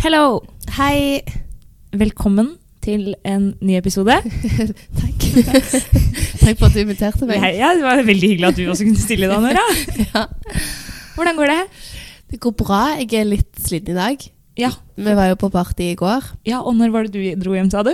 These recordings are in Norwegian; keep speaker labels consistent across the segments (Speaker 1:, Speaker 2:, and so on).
Speaker 1: Hello!
Speaker 2: Hei.
Speaker 1: Velkommen til en ny episode.
Speaker 2: Takk. Takk for at du inviterte meg.
Speaker 1: Hei, ja, det var veldig hyggelig at du også kunne stille deg, Nora.
Speaker 2: Ja.
Speaker 1: Hvordan går det?
Speaker 2: Det går bra. Jeg er litt sliten i dag.
Speaker 1: Ja.
Speaker 2: Vi var jo på party i går.
Speaker 1: ja, og når var det du dro hjem, sa du?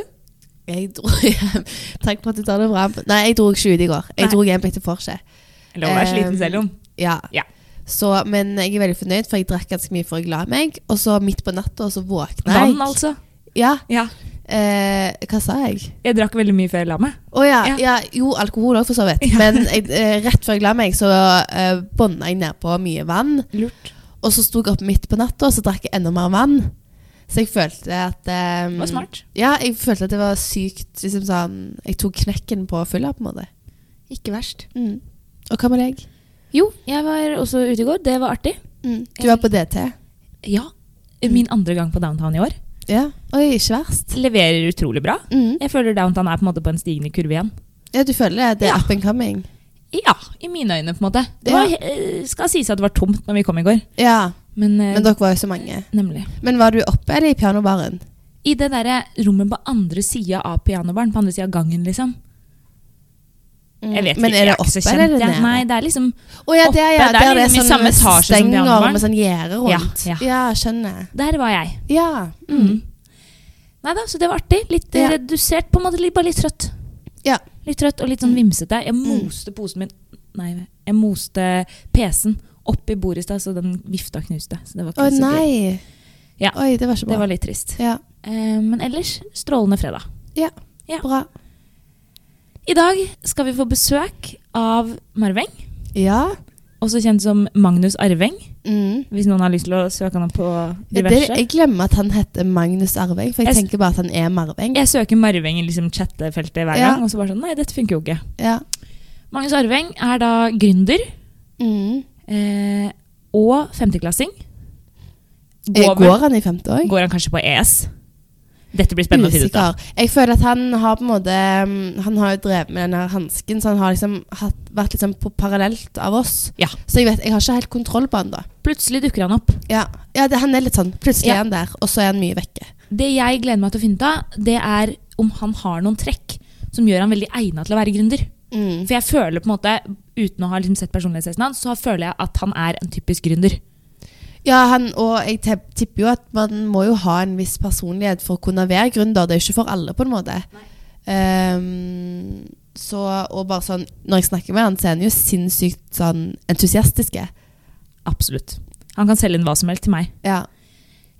Speaker 2: Jeg dro hjem. Takk for at du tar det fram. Nei, jeg dro ikke ut i går. Jeg
Speaker 1: Nei.
Speaker 2: dro hjem etter vorset.
Speaker 1: Eller var jeg
Speaker 2: Eh,
Speaker 1: sliten selv om?
Speaker 2: Ja.
Speaker 1: Ja.
Speaker 2: Så, men jeg er veldig fornøyd, for jeg drakk ganske mye før jeg la meg. Og så midt på natta, så våkna jeg.
Speaker 1: Vann, altså.
Speaker 2: Ja.
Speaker 1: Ja.
Speaker 2: Eh, hva sa jeg?
Speaker 1: Jeg drakk veldig mye før jeg la meg.
Speaker 2: Å ja,
Speaker 1: Ja.
Speaker 2: ja. Jo, alkohol òg, for så vidt.
Speaker 1: Ja.
Speaker 2: Men jeg, eh, rett før jeg la meg, så eh, bånda jeg nedpå mye vann.
Speaker 1: Lurt.
Speaker 2: Og så sto jeg opp midt på natta, og så drakk jeg enda mer vann. Så jeg følte at eh,
Speaker 1: Det var smart.
Speaker 2: Ja, jeg følte at det var sykt liksom sånn Jeg tok knekken på fylla, på en måte.
Speaker 3: Ikke verst.
Speaker 2: Mm. Og hva med deg?
Speaker 3: Jo, jeg var også ute i går. Det var artig.
Speaker 2: Mm. Du var på DT?
Speaker 1: Ja. Min andre gang på downtown i år.
Speaker 2: Ja. Oi, ikke verst.
Speaker 1: Leverer utrolig bra.
Speaker 2: Mm.
Speaker 1: Jeg føler downtown er på en måte på en stigende kurve igjen.
Speaker 2: Ja, du føler det? Det er
Speaker 1: Ja.
Speaker 2: up and coming?
Speaker 1: Ja, i mine øyne, på en måte. Det var, eh, skal sies at det var tomt når vi kom i går.
Speaker 2: Ja.
Speaker 1: Men, eh,
Speaker 2: Men dere var jo så mange.
Speaker 1: nemlig.
Speaker 2: Men var du oppe eller i pianobaren?
Speaker 1: I det derre rommet på andre sida av pianobaren, på andre sida av gangen, liksom.
Speaker 2: Mm.
Speaker 1: Jeg vet
Speaker 2: Men
Speaker 1: ikke,
Speaker 2: er
Speaker 1: jeg
Speaker 2: det
Speaker 1: ikke så
Speaker 2: oppe
Speaker 1: kjent,
Speaker 2: eller er det
Speaker 1: jeg.
Speaker 2: nede?
Speaker 1: Nei, det er liksom
Speaker 2: Å ja, der, ja.
Speaker 1: Oppe, det er
Speaker 2: Der det er
Speaker 1: liksom i
Speaker 2: sånn
Speaker 1: samme etasje som
Speaker 2: stenger
Speaker 1: pianobaren.
Speaker 2: med sånn gjerde rundt.
Speaker 1: Ja, ja.
Speaker 2: skjønner.
Speaker 1: Der var jeg.
Speaker 2: Ja.
Speaker 1: Mm. Nei da, så det var artig. Litt eh,
Speaker 2: Ja.
Speaker 1: redusert, på en måte. Litt, bare litt trøtt.
Speaker 2: Ja. Mm.
Speaker 1: Litt trøtt og litt sånn vimsete. Jeg moste posen min Nei, jeg moste PC-en oppi bordet i stad, så den vifta og knuste. Så det var
Speaker 2: Å
Speaker 1: ikke så gøy.
Speaker 2: nei.
Speaker 1: Ja.
Speaker 2: Oi, det var ikke bra.
Speaker 1: Det var litt trist.
Speaker 2: Ja.
Speaker 1: Eh, men ellers strålende fredag.
Speaker 2: Ja.
Speaker 1: Ja.
Speaker 2: Bra.
Speaker 1: I dag skal vi få besøk av Marveng,
Speaker 2: Ja.
Speaker 1: også kjent som Magnus Arveng.
Speaker 2: Mm.
Speaker 1: Hvis noen har lyst til å søke han opp på
Speaker 2: Ja,
Speaker 1: diverse.
Speaker 2: Det, jeg glemmer at han heter Magnus Arveng, for jeg
Speaker 1: Jeg s-
Speaker 2: tenker bare at han er Marveng.
Speaker 1: Jeg søker Marveng i liksom chattefeltet hver
Speaker 2: Ja.
Speaker 1: gang, og så bare sånn Nei, dette funker jo ikke.
Speaker 2: Ja.
Speaker 1: Magnus Arveng er da gründer
Speaker 2: Mm.
Speaker 1: eh, og femteklassing.
Speaker 2: Eh,
Speaker 1: Går,
Speaker 2: Går han i femte òg?
Speaker 1: går han kanskje på ES? Dette blir spennende å finne ut av.
Speaker 2: Jeg føler at han har på en måte mm, Han har jo drevet med den her hansken, så han har liksom hatt, vært liksom på parallelt av oss.
Speaker 1: Ja.
Speaker 2: Så jeg vet, jeg har ikke helt kontroll på han da.
Speaker 1: Plutselig dukker han opp.
Speaker 2: Ja, ja det, han er litt sånn. Plutselig
Speaker 1: Ja.
Speaker 2: er han der, og så er han mye vekke.
Speaker 1: Det jeg gleder meg til å finne ut av, det er om han har noen trekk som gjør han veldig egna til å være gründer.
Speaker 2: Mm.
Speaker 1: For jeg føler på en måte, uten å ha liksom sett personlighetstesten hans, så føler jeg at han er en typisk gründer.
Speaker 2: Ja, han, og jeg te- tipper jo at man må jo ha en viss personlighet for å kunne være gründer. Det er jo ikke for alle, på en måte. Ehm, så, og bare sånn, når jeg snakker med han, så er han jo sinnssykt sånn entusiastiske.
Speaker 1: Absolutt. Han kan selge inn hva som helst til meg.
Speaker 2: Ja.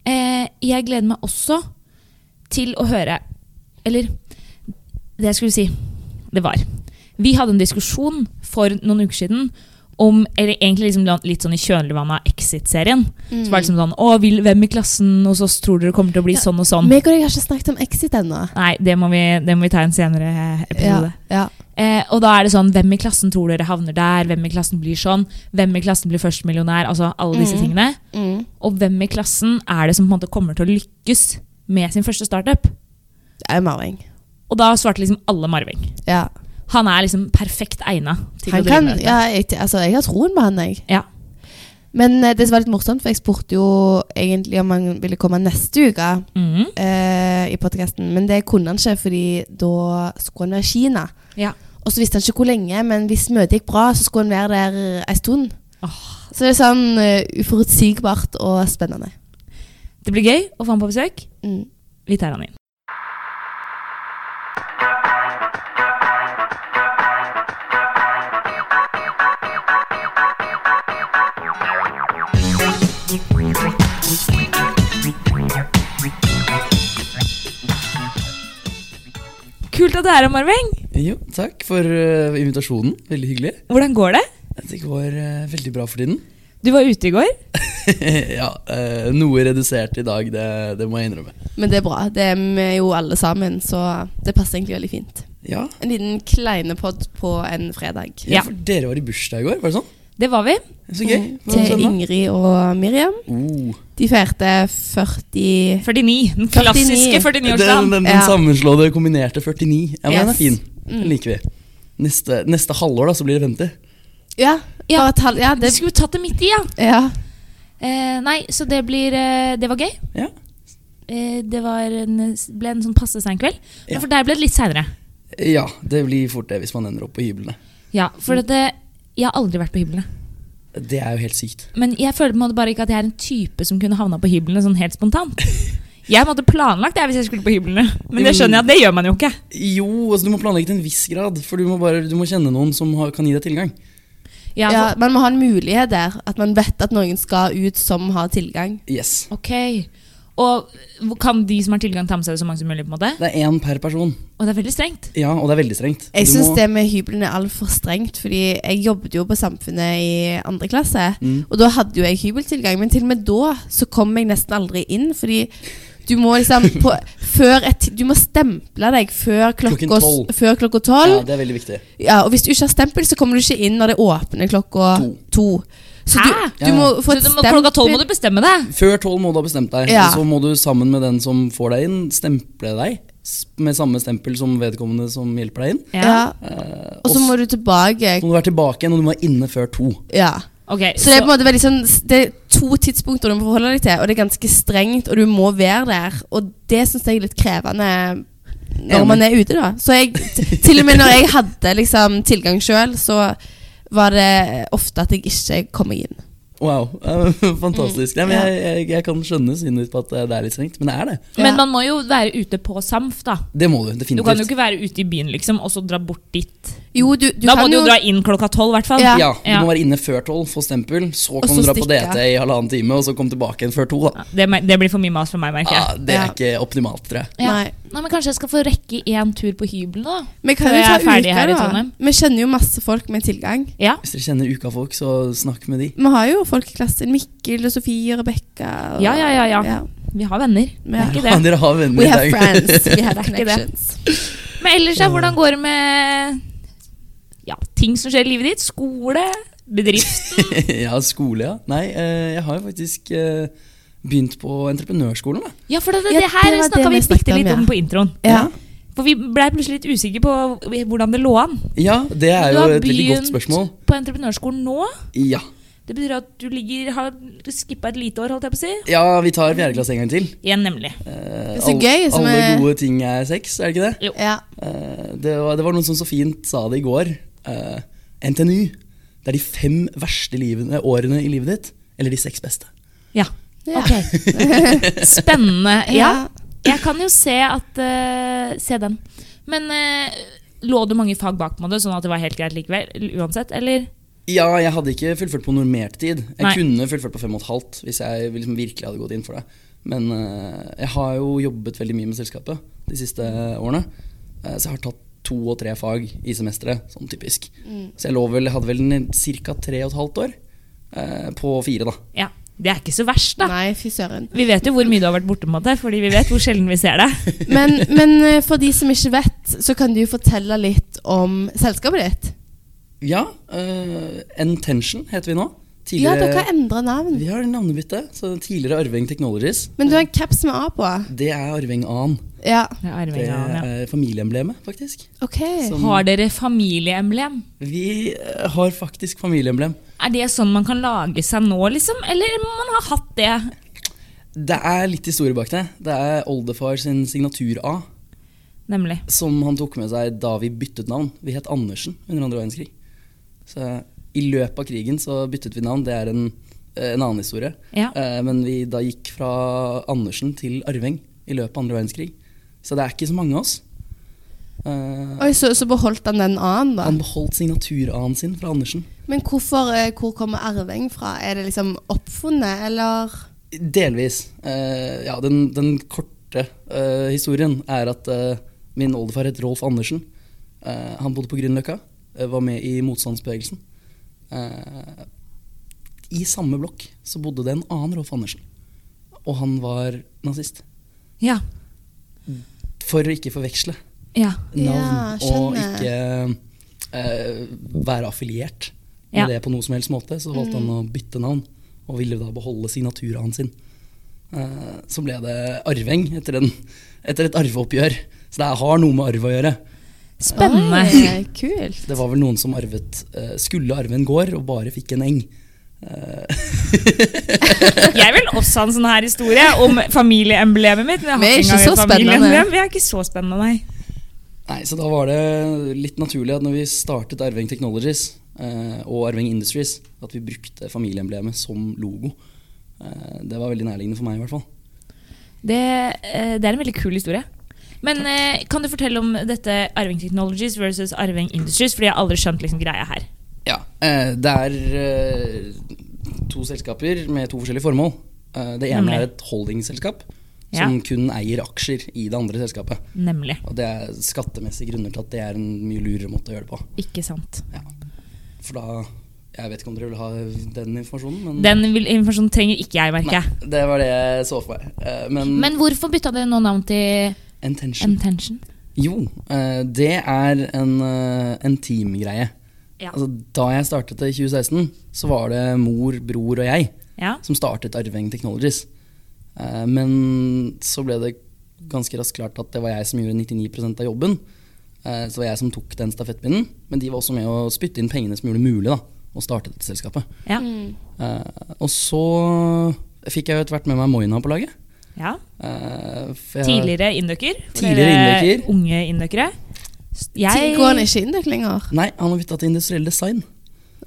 Speaker 1: Eh, jeg gleder meg også til å høre Eller det jeg skulle si, det var Vi hadde en diskusjon for noen uker siden om Eller egentlig liksom litt sånn i kjølvannet av Exit-serien. Så
Speaker 2: Mm.
Speaker 1: var det liksom sånn Å, vil, hvem i klassen hos oss tror dere kommer til å bli
Speaker 2: Ja,
Speaker 1: sånn og sånn?
Speaker 2: Meg og deg har ikke snakket om Exit ennå.
Speaker 1: Nei, det må, vi, det må vi ta i en senere
Speaker 2: Ja,
Speaker 1: episode.
Speaker 2: ja.
Speaker 1: Eh, og da er det sånn Hvem i klassen tror dere havner der? Hvem i klassen blir sånn? Hvem i klassen blir førstemillionær? Altså alle disse
Speaker 2: Mhm.
Speaker 1: tingene.
Speaker 2: Mm.
Speaker 1: Og hvem i klassen er det som på en måte kommer til å lykkes med sin første startup?
Speaker 2: Det er jo Marving.
Speaker 1: Og da svarte liksom alle Marving.
Speaker 2: Ja.
Speaker 1: Han er liksom perfekt egna til
Speaker 2: Han
Speaker 1: å drive
Speaker 2: kan,
Speaker 1: med dette.
Speaker 2: ja, jeg, altså, jeg har troen på han, jeg.
Speaker 1: Ja.
Speaker 2: Men eh, det som var litt morsomt, for jeg spurte jo egentlig om han ville komme neste uke.
Speaker 1: Mhm.
Speaker 2: eh, i podcasten, men det kunne han ikke, fordi da skulle han være i Kina.
Speaker 1: Ja.
Speaker 2: Og så visste han ikke hvor lenge, men hvis møtet gikk bra, så skulle han være der en stund. Så det er sånn eh, uforutsigbart og spennende.
Speaker 1: Det blir gøy å få han på besøk.
Speaker 2: Mm.
Speaker 1: Vi tar han inn. Kult at du er her, Marveng.
Speaker 4: Jo, takk for eh, invitasjonen. Veldig hyggelig.
Speaker 1: Hvordan går det?
Speaker 4: Jeg tenker det var eh, veldig bra for tiden.
Speaker 1: Du var ute i går.
Speaker 4: ja, eh, noe redusert i dag, det, det må jeg innrømme.
Speaker 2: Men det er bra. Det er vi jo alle sammen, så det passer egentlig veldig fint.
Speaker 4: Ja,
Speaker 2: En liten kleinepod på en fredag.
Speaker 1: Ja.
Speaker 4: ja, for dere var i bursdag i går, var det sånn?
Speaker 1: Det var vi.
Speaker 4: Så gøy. Hva var det
Speaker 2: Mm. Til
Speaker 4: sånn da?
Speaker 2: Ingrid og Miriam.
Speaker 4: Oh,
Speaker 2: De feirte 40
Speaker 1: 49. Den klassiske 49
Speaker 4: den, den,
Speaker 1: årsdagen
Speaker 4: den
Speaker 2: Ja.
Speaker 4: sammenslåtte kombinerte 49. Ja, men Den
Speaker 2: Yes. Mm.
Speaker 4: er fin. Den liker vi. Neste, neste halvår da, så blir det 50.
Speaker 2: Ja,
Speaker 1: Ja.
Speaker 2: bare et halvt Ja,
Speaker 1: Vi
Speaker 2: det
Speaker 1: skulle tatt det midt i, ja.
Speaker 2: ja.
Speaker 1: Eh, nei, så det blir eh, Det var gøy.
Speaker 4: Ja,
Speaker 1: eh, det var en, ble en sånn passe sein kveld. Men
Speaker 4: Ja.
Speaker 1: for deg ble det litt seinere.
Speaker 4: Ja, det blir fort det hvis man ender opp på hyblene.
Speaker 1: Ja, for at det, jeg har aldri vært på hyblene.
Speaker 4: Det er jo helt sykt.
Speaker 1: Men jeg føler på en måte bare ikke at jeg er en type som kunne havna på hyblene sånn helt spontant. Jeg måtte planlagt det hvis jeg skulle på hyblene, men det skjønner jeg at det gjør man jo ikke.
Speaker 4: Jo, altså du må planlegge til en viss grad, for du må, bare, du må kjenne noen som har, kan gi deg tilgang.
Speaker 1: Ja,
Speaker 2: Ja,
Speaker 1: for-
Speaker 2: man må ha en mulighet der. At man vet at noen skal ut som har tilgang.
Speaker 4: Yes.
Speaker 1: ok. Og kan de som har tilgang, ta med seg så mange som mulig? på en måte?
Speaker 4: Det er én per person,
Speaker 1: Og det er veldig strengt.
Speaker 4: ja, og det er veldig strengt.
Speaker 2: Jeg
Speaker 4: Du
Speaker 2: syns
Speaker 4: må-
Speaker 2: det med hyblene er altfor strengt, fordi jeg jobbet jo på Samfunnet i andre klasse.
Speaker 4: Mm.
Speaker 2: Og da hadde jo jeg hybeltilgang, men til og med da så kom jeg nesten aldri inn. Fordi du må liksom på, før et, Du må stemple deg før
Speaker 4: Klokken
Speaker 2: klokka,
Speaker 4: tolv.
Speaker 2: før klokka tolv.
Speaker 4: Ja, det er veldig viktig.
Speaker 2: Ja, og hvis du ikke har stempel, så kommer du ikke inn når det åpner klokka
Speaker 4: To.
Speaker 2: to. Så du,
Speaker 1: Hæ?
Speaker 2: du må
Speaker 4: Ja,
Speaker 2: få et
Speaker 1: Så du må-
Speaker 2: stempel.
Speaker 1: Klokka tolv må du bestemme deg.
Speaker 4: Før tolv må du ha bestemt deg,
Speaker 2: Ja.
Speaker 4: og så må du sammen med den som får deg inn, stemple deg s- med samme stempel som vedkommende som hjelper deg inn.
Speaker 2: ja.
Speaker 4: Eh,
Speaker 2: Og så må du tilbake.
Speaker 4: må du være tilbake igjen, og du må være inne før to.
Speaker 2: Ja.
Speaker 1: Ok,
Speaker 2: Så det er på en måte veldig sånn Det er to tidspunkter du må forholde deg til, og det er ganske strengt, og du må være der. Og det syns jeg er litt krevende når
Speaker 4: Enig.
Speaker 2: man er ute, da. Så jeg, t- til og med når jeg hadde liksom, tilgang sjøl, så var det ofte at jeg ikke kom meg inn.
Speaker 4: Wow, eh,
Speaker 2: Mm.
Speaker 4: fantastisk. Ja, men jeg, jeg, jeg kan skjønne synet ditt på at det er litt strengt, men det er det.
Speaker 1: Men
Speaker 2: Ja.
Speaker 1: man må jo være ute på SAMF, da.
Speaker 4: Det må du
Speaker 1: Du kan jo
Speaker 4: definitivt.
Speaker 1: ikke være ute i byen liksom, og så dra bort dit.
Speaker 2: Jo, du, du
Speaker 1: da
Speaker 2: kan
Speaker 1: må du jo
Speaker 2: jo
Speaker 1: dra inn klokka tolv, i hvert fall.
Speaker 2: Ja.
Speaker 4: Ja, du
Speaker 1: Ja.
Speaker 4: må være inne før tolv, få stempel, så
Speaker 2: Og
Speaker 4: kan
Speaker 2: så
Speaker 4: du dra på
Speaker 2: stikke.
Speaker 4: DT i halvannen time, og så komme tilbake igjen før to. da.
Speaker 1: Ja, Det, mer- det blir for mye mas for meg, merker jeg.
Speaker 4: Ah, det er
Speaker 2: Ja.
Speaker 4: ikke optimalt, tror jeg.
Speaker 1: Ja.
Speaker 2: Nei.
Speaker 1: Nei, men Kanskje jeg skal få rekke én tur på hybelen, da?
Speaker 2: Vi kan
Speaker 1: Før
Speaker 2: jo
Speaker 1: jeg
Speaker 2: ta
Speaker 1: er ferdig
Speaker 2: uka,
Speaker 1: her i
Speaker 2: da.
Speaker 1: Trondheim.
Speaker 2: Vi kjenner jo masse folk med tilgang.
Speaker 1: Ja.
Speaker 4: Hvis dere kjenner ukafolk, så snakk med de.
Speaker 2: Vi har jo folk i klassen. Mikkel og Sofie og Rebekka. og-
Speaker 1: Ja, ja, ja, ja. Vi har venner.
Speaker 2: vi
Speaker 1: Det er
Speaker 2: har-
Speaker 1: ikke det.
Speaker 4: Dere har venner
Speaker 2: We
Speaker 4: i
Speaker 2: have
Speaker 4: dag.
Speaker 2: friends. We have
Speaker 1: ikke det.
Speaker 2: connections.
Speaker 1: Men ellers, ja, hvordan går det med ja, ting som skjer i livet ditt? Skole? Bedrift?
Speaker 4: ja, skole, ja. Nei, eh, jeg har jo faktisk eh, begynt på entreprenørskolen, da.
Speaker 1: Ja, for det, det,
Speaker 2: Ja,
Speaker 1: det her
Speaker 2: det var det
Speaker 1: snakka
Speaker 2: vi
Speaker 1: vi
Speaker 2: snakket
Speaker 1: bitte
Speaker 2: om,
Speaker 1: litt
Speaker 2: ja.
Speaker 1: om på introen.
Speaker 2: Ja.
Speaker 1: For vi blei plutselig litt usikre på hvordan det lå an.
Speaker 4: Ja, det er
Speaker 1: Du
Speaker 4: jo
Speaker 1: har
Speaker 4: et veldig godt
Speaker 1: begynt
Speaker 4: spørsmål.
Speaker 1: På entreprenørskolen nå.
Speaker 4: Ja.
Speaker 1: Det betyr at du ligger, har skippa et lite år, holdt jeg på å si.
Speaker 4: ja, vi tar fjerdeklasse en gang til.
Speaker 1: Igjen, nemlig.
Speaker 4: Eh,
Speaker 2: Så gøy, som
Speaker 4: alle,
Speaker 2: er-
Speaker 4: alle gode ting er sex, er det ikke det?
Speaker 2: ja.
Speaker 4: Eh, det, var, det var noen som så fint sa det i går. Eh, NTNU. Det er de fem verste livene, årene i livet ditt. Eller de seks beste.
Speaker 1: Ja.
Speaker 2: Ja.
Speaker 1: Spennende. Ja.
Speaker 2: Ja.
Speaker 1: Jeg kan jo se at eh, Se den. Men eh, lå det mange fag bak på en måte, sånn at det var helt greit likevel? Uansett, eller?
Speaker 4: Ja, jeg hadde ikke fullført på normert tid. Jeg
Speaker 1: Nei.
Speaker 4: kunne fullført på fem og et halvt hvis jeg liksom virkelig hadde gått inn for det. Men eh, jeg har jo jobbet veldig mye med selskapet de siste årene. Eh, så jeg har tatt to og tre fag i semesteret, sånn typisk. Så jeg lå vel, jeg hadde vel ca. tre og et halvt år eh, på fire, da.
Speaker 1: Ja. Det er ikke så verst, da.
Speaker 2: Nei, fy søren.
Speaker 1: Vi vet jo hvor mye du har vært borte, på en måte, fordi vi vet hvor sjelden vi ser deg.
Speaker 2: Men, men eh, for de som ikke vet, så kan du fortelle litt om selskapet ditt.
Speaker 4: Ja, uh, Intention heter vi nå.
Speaker 2: Ja, dere har endra navn.
Speaker 4: vi har navnebytte. Så tidligere Arving Technologies.
Speaker 2: Men du har en caps med A på.
Speaker 4: Det er Arving An.
Speaker 2: Ja,
Speaker 1: Det er
Speaker 4: Det
Speaker 1: arvingen av han, ja.
Speaker 4: er sånn- familieemblemet, faktisk.
Speaker 2: ok.
Speaker 4: Som-
Speaker 1: Har dere familieemblem?
Speaker 4: Vi eh, har faktisk familieemblem.
Speaker 1: Er det sånn man kan lage seg nå, liksom? Eller må man ha hatt det?
Speaker 4: Det er litt historie bak det. Det er oldefar sin signatur A,
Speaker 1: Nemlig.
Speaker 4: som han tok med seg da vi byttet navn. Vi het Andersen under andre verdenskrig. Så i løpet av krigen så byttet vi navn. Det er en, eh, en annen historie.
Speaker 1: Ja.
Speaker 4: Eh, Men vi da gikk fra Andersen til Arving i løpet av andre verdenskrig. Så det er ikke så mange av oss. Eh,
Speaker 2: Oi, så, så beholdt han den A-en, da.
Speaker 4: Han beholdt signatur A-en sin fra Andersen.
Speaker 2: Men hvorfor, eh, hvor kommer arving fra? Er det liksom oppfunnet, eller?
Speaker 4: Delvis. Eh, ja, den, den korte eh, historien er at eh, min oldefar het Rolf Andersen. Eh, han bodde på Grünerløkka, eh, var med i motstandsbevegelsen. Eh, I samme blokk så bodde det en annen Rolf Andersen, og han var nazist.
Speaker 1: Ja.
Speaker 4: For å ikke forveksle
Speaker 1: Ja.
Speaker 2: Ja,
Speaker 4: navn og
Speaker 2: skjønner.
Speaker 4: ikke eh, være affiliert med
Speaker 1: Ja.
Speaker 4: det på noe som helst måte, så valgte han å
Speaker 2: Mm.
Speaker 4: bytte navn, og ville da beholde signaturen sin. Eh, så ble det arving etter, en, etter et arveoppgjør. Så det har noe med arv å gjøre.
Speaker 1: Spennende.
Speaker 2: Oi, kult.
Speaker 4: Det var vel noen som arvet, eh, skulle arve en gård, og bare fikk en eng. Eh,
Speaker 1: Jeg vil også ha en sånn her historie om familieemblemet mitt. men jeg har
Speaker 2: Vi er
Speaker 1: ikke
Speaker 2: ikke
Speaker 1: engang
Speaker 2: så
Speaker 1: et
Speaker 2: spennende.
Speaker 1: familieemblem. Vi er ikke så spennende, nei.
Speaker 4: Nei, så da var det litt naturlig at når vi startet Arving Technologies eh, og Arving Industries, at vi brukte familieemblemet som logo. Eh, det var veldig nærliggende for meg i hvert fall.
Speaker 1: Det, eh, det er en veldig kul historie. Men eh, kan du fortelle om dette Arving Technologies versus Arving Industries? Fordi jeg har aldri skjønt liksom, greia her.
Speaker 4: Ja, eh, det er eh, to selskaper med to forskjellige formål. Eh, det ene
Speaker 1: Nemlig.
Speaker 4: er et holdingselskap
Speaker 1: Ja.
Speaker 4: som kun eier aksjer i det andre selskapet.
Speaker 1: Nemlig.
Speaker 4: Og det er skattemessige grunner til at det er en mye lurere måte å gjøre det på.
Speaker 1: Ikke sant.
Speaker 4: Ja. For da Jeg vet ikke om dere vil ha den informasjonen, men
Speaker 1: Den vil, informasjonen trenger ikke jeg, merker jeg.
Speaker 4: Nei, det var det jeg så for meg. Eh, Men,
Speaker 1: Men hvorfor bytta dere nå navn til
Speaker 4: intention
Speaker 1: Intention?
Speaker 4: Jo, eh, det er en, eh, en teamgreie.
Speaker 1: Ja.
Speaker 4: Altså, da jeg startet det i 2016, så var det mor, bror og jeg
Speaker 1: Ja.
Speaker 4: som startet Arveng Technologies. Eh, Men så ble det ganske raskt klart at det var jeg som gjorde 99 av jobben. Eh, Så det var jeg som tok den stafettpinnen, men de var også med å spytte inn pengene som gjorde det mulig da, å starte dette selskapet.
Speaker 1: Ja.
Speaker 2: Mm.
Speaker 4: Eh, Og så fikk jeg jo etter hvert med meg Moina på laget.
Speaker 1: ja.
Speaker 4: Eh, for jeg-
Speaker 1: Tidligere inndøkker.
Speaker 4: Tidligere
Speaker 1: Dere
Speaker 4: inndøkker.
Speaker 1: Unge inndøkkere. Jeg
Speaker 2: Går han ikke inn dere lenger?
Speaker 4: Nei, han har bytta til industriell design.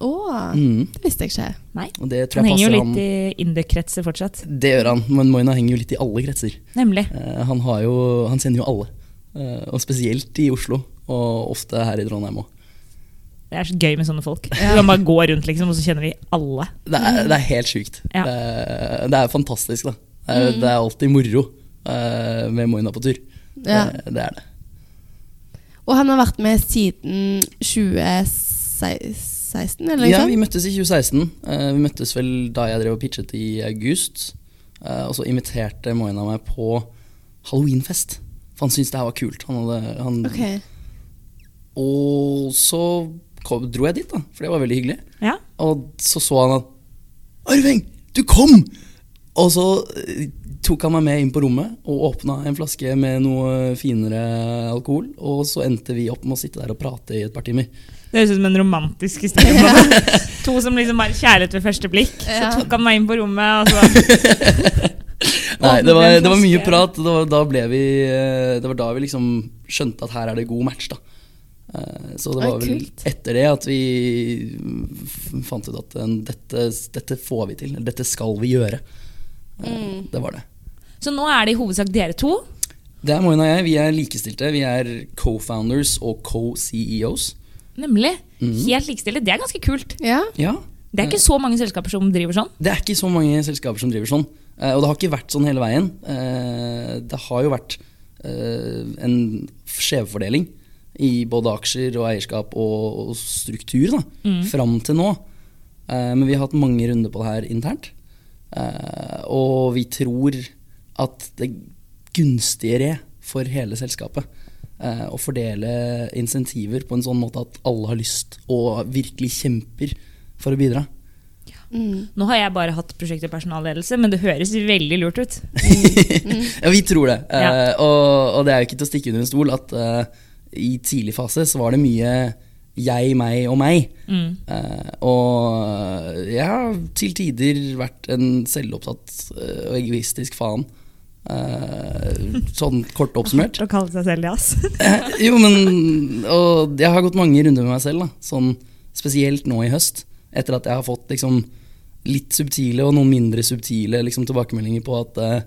Speaker 2: Å,
Speaker 4: Mm.
Speaker 2: det visste jeg ikke.
Speaker 1: Nei.
Speaker 4: Og det tror
Speaker 1: Ah. Han
Speaker 4: jeg
Speaker 1: henger jo
Speaker 4: passer
Speaker 1: litt
Speaker 4: han.
Speaker 1: i inndøkkretser fortsatt.
Speaker 4: Det gjør han, men Moina henger jo litt i alle kretser.
Speaker 1: Nemlig.
Speaker 4: Eh, han, har jo, han kjenner jo alle, Eh, og spesielt i Oslo, og ofte her i Trondheim òg.
Speaker 1: Det er så gøy med sånne folk. Du kan bare gå rundt, liksom, og så kjenner de alle.
Speaker 4: Det, er- det er helt sjukt.
Speaker 1: Ja.
Speaker 4: Det, er- det er fantastisk, da. Det er, det er alltid moro eh, med Moina på tur.
Speaker 2: Ja.
Speaker 4: Det, det er det.
Speaker 2: Og han har vært med siden 2016, eller noe
Speaker 4: Ja, vi
Speaker 2: sånt?
Speaker 4: møttes i 2016. Eh, vi møttes vel da jeg drev og pitchet i august. Eh, og så inviterte Moina meg på halloweenfest. For han syntes det her var kult. Han hadde, han,
Speaker 1: Mm.
Speaker 2: Ok.
Speaker 4: Og så kom, dro jeg dit, da, for det var veldig hyggelig.
Speaker 1: Ja.
Speaker 4: Og så så han at Arving, du kom! Og så eh, tok han meg med inn på rommet og åpna en flaske med noe finere alkohol. Og så endte vi opp med å sitte der og prate i et par timer.
Speaker 1: Det høres ut som en romantisk historie. på en måte. To som liksom har kjærlighet ved første blikk. Så
Speaker 2: Ja.
Speaker 1: tok han meg inn på rommet, og så
Speaker 4: Nei,
Speaker 1: Åpnet
Speaker 4: det var,
Speaker 1: en
Speaker 4: det var mye
Speaker 1: flaske.
Speaker 4: prat. Det var, da ble vi, eh, det var da vi liksom skjønte at her er det god match, da. Eh, Så det
Speaker 2: Oi,
Speaker 4: var vel
Speaker 2: kult.
Speaker 4: etter det at vi mm, f- fant ut at eh, dette, dette får vi til. eller Dette skal vi gjøre. Eh,
Speaker 1: Mm.
Speaker 2: Mm.
Speaker 4: Det var det.
Speaker 1: Så nå er det i hovedsak dere to.
Speaker 4: Det er Moina og jeg. Vi er likestilte. Vi er co-founders og E co-CEOs.
Speaker 1: Nemlig. Helt likestilte. Det er ganske kult.
Speaker 2: Ja.
Speaker 4: Mhm. Ja.
Speaker 1: Det er ikke så mange selskaper som driver sånn.
Speaker 4: Det er ikke så mange selskaper som driver sånn. Eh, Og det har ikke vært sånn hele veien. Eh, Det har jo vært eh, en skjevfordeling i både aksjer og eierskap og og struktur da, fram til nå. Eh, Men vi har hatt mange runder på det her internt. Eh, Og vi tror at det er gunstigere for hele selskapet eh, å fordele insentiver på en sånn måte at alle har lyst og virkelig kjemper for å bidra.
Speaker 2: Mm.
Speaker 1: Nå har jeg bare hatt prosjekt- og personalledelse, men det høres veldig lurt ut.
Speaker 4: ja, vi tror det. Eh,
Speaker 1: Ja.
Speaker 4: og, og det er jo ikke til å stikke under en stol at eh, i tidlig fase så var det mye jeg, meg og meg.
Speaker 1: Mm.
Speaker 4: Eh, og eh, jeg har til tider vært en selvopptatt eh, og egoistisk faen. Eh, sånn kort oppsummert.
Speaker 1: Å kalle seg selv det, ass.
Speaker 4: Eh, jo, men Og jeg har gått mange runder med meg selv, da. Sånn, spesielt nå i høst. Etter at jeg har fått liksom, litt subtile og noen mindre subtile liksom, tilbakemeldinger på at eh,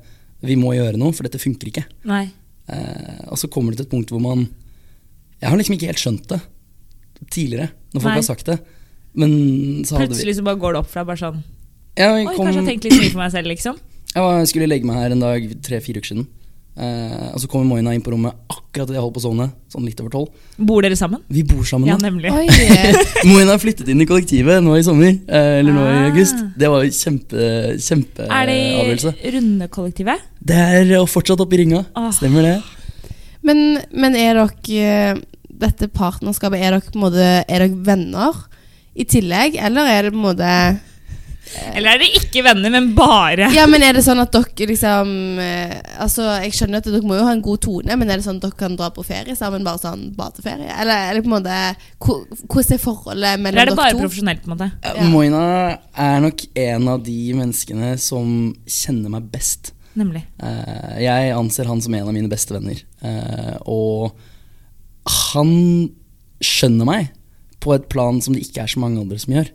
Speaker 4: vi må gjøre noe, for dette funker ikke.
Speaker 1: Nei.
Speaker 4: Eh, og så kommer det til et punkt hvor man Jeg har liksom ikke helt skjønt det tidligere, når folk
Speaker 1: Nei.
Speaker 4: har sagt det. Men så hadde vi
Speaker 1: Plutselig så bare går det opp for deg bare sånn
Speaker 4: Jeg
Speaker 1: Oi,
Speaker 4: kom-
Speaker 1: kanskje jeg har tenkt litt mye på meg selv, liksom.
Speaker 4: Jeg var, skulle legge meg her en dag tre-fire uker siden. Eh, og så kommer Moina inn på rommet akkurat da jeg holdt på å sovne. Sånn litt over tolv.
Speaker 1: Bor dere sammen?
Speaker 4: Vi bor sammen
Speaker 1: Ja,
Speaker 4: nå.
Speaker 1: nemlig.
Speaker 2: Oi.
Speaker 4: Moen har flyttet inn i kollektivet nå i sommer. eh, Eller nå i
Speaker 1: Ah.
Speaker 4: august. Det var jo kjempe, kjempe
Speaker 1: Er det
Speaker 2: Eh,
Speaker 4: avgjørelse.
Speaker 1: i rundekollektivet?
Speaker 4: Det er eh, fortsatt oppe i ringa.
Speaker 1: Ah.
Speaker 4: Stemmer det.
Speaker 2: Men, men er dere eh, dette partnerskapet Er dere, på en måte, er dere venner i tillegg, eller er det på en måte
Speaker 1: Eller er dere ikke venner, men bare
Speaker 2: Ja, men er det sånn at dere liksom eh, Altså, jeg skjønner at dere må jo ha en god tone, men er det sånn at dere kan dra på ferie sammen, bare sånn badeferie? Eller, eller på en måte hvor- Hvordan er forholdet
Speaker 1: Eller er
Speaker 2: mellom
Speaker 1: det bare
Speaker 2: dere to?
Speaker 1: profesjonelt? på en måte?
Speaker 4: Eh,
Speaker 2: Ja.
Speaker 4: Moina er nok en av de menneskene som kjenner meg best.
Speaker 1: Nemlig.
Speaker 4: Eh, jeg anser han som en av mine beste venner. Eh, og han skjønner meg på et plan som det ikke er så mange andre som gjør.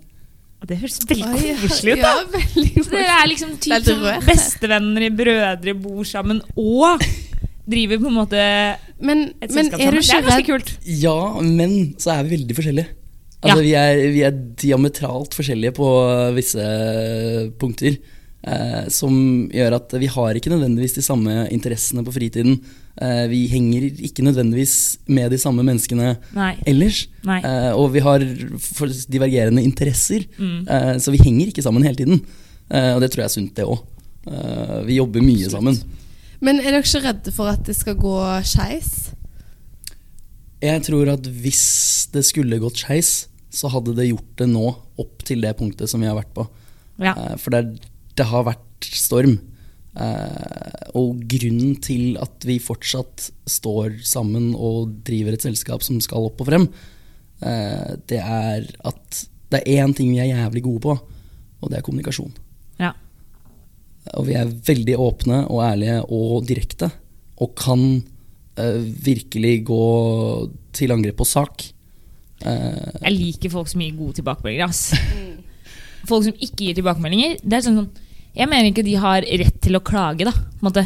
Speaker 1: Og det høres veldig
Speaker 2: Oi,
Speaker 1: koselig ut, da.
Speaker 2: Ja, veldig
Speaker 1: Så dere er liksom
Speaker 2: Det er
Speaker 1: typ
Speaker 2: litt
Speaker 1: som
Speaker 2: rødt.
Speaker 1: bestevenner i brødre, bor sammen og driver på en måte
Speaker 2: Men,
Speaker 1: et
Speaker 2: men
Speaker 1: selskap sammen.
Speaker 2: er du
Speaker 1: Det
Speaker 2: ikke
Speaker 1: er ganske
Speaker 2: redd
Speaker 1: kult.
Speaker 4: Ja, men så er vi veldig forskjellige. Altså, vi, er, vi er diametralt forskjellige på visse punkter. Eh, som gjør at vi har ikke nødvendigvis de samme interessene på fritiden. Eh, vi henger ikke nødvendigvis med de samme menneskene
Speaker 1: Nei.
Speaker 4: ellers.
Speaker 1: Nei.
Speaker 4: Eh, og vi har for divergerende interesser,
Speaker 1: Mm.
Speaker 4: eh, så vi henger ikke sammen hele tiden. Eh, og det tror jeg er sunt, det òg. Eh, vi jobber mye sammen.
Speaker 2: Men er dere ikke redde for at det skal gå skeis?
Speaker 4: Jeg tror at hvis det skulle gått skeis, så hadde det gjort det nå, opp til det punktet som vi har vært på.
Speaker 1: Ja.
Speaker 4: Eh, For det, er- det har vært storm. Eh, Og grunnen til at vi fortsatt står sammen og driver et selskap som skal opp og frem, eh, det er at det er én ting vi er jævlig gode på, og det er kommunikasjon.
Speaker 1: ja.
Speaker 4: Og vi er veldig åpne og ærlige og direkte. Og kan eh, virkelig gå til angrep på sak. Eh,
Speaker 1: Jeg liker folk som gir gode tilbakemeldinger. Ass. Folk som ikke gir tilbakemeldinger. Det er sånn, sånn, jeg mener ikke de har rett til å klage da, på en måte,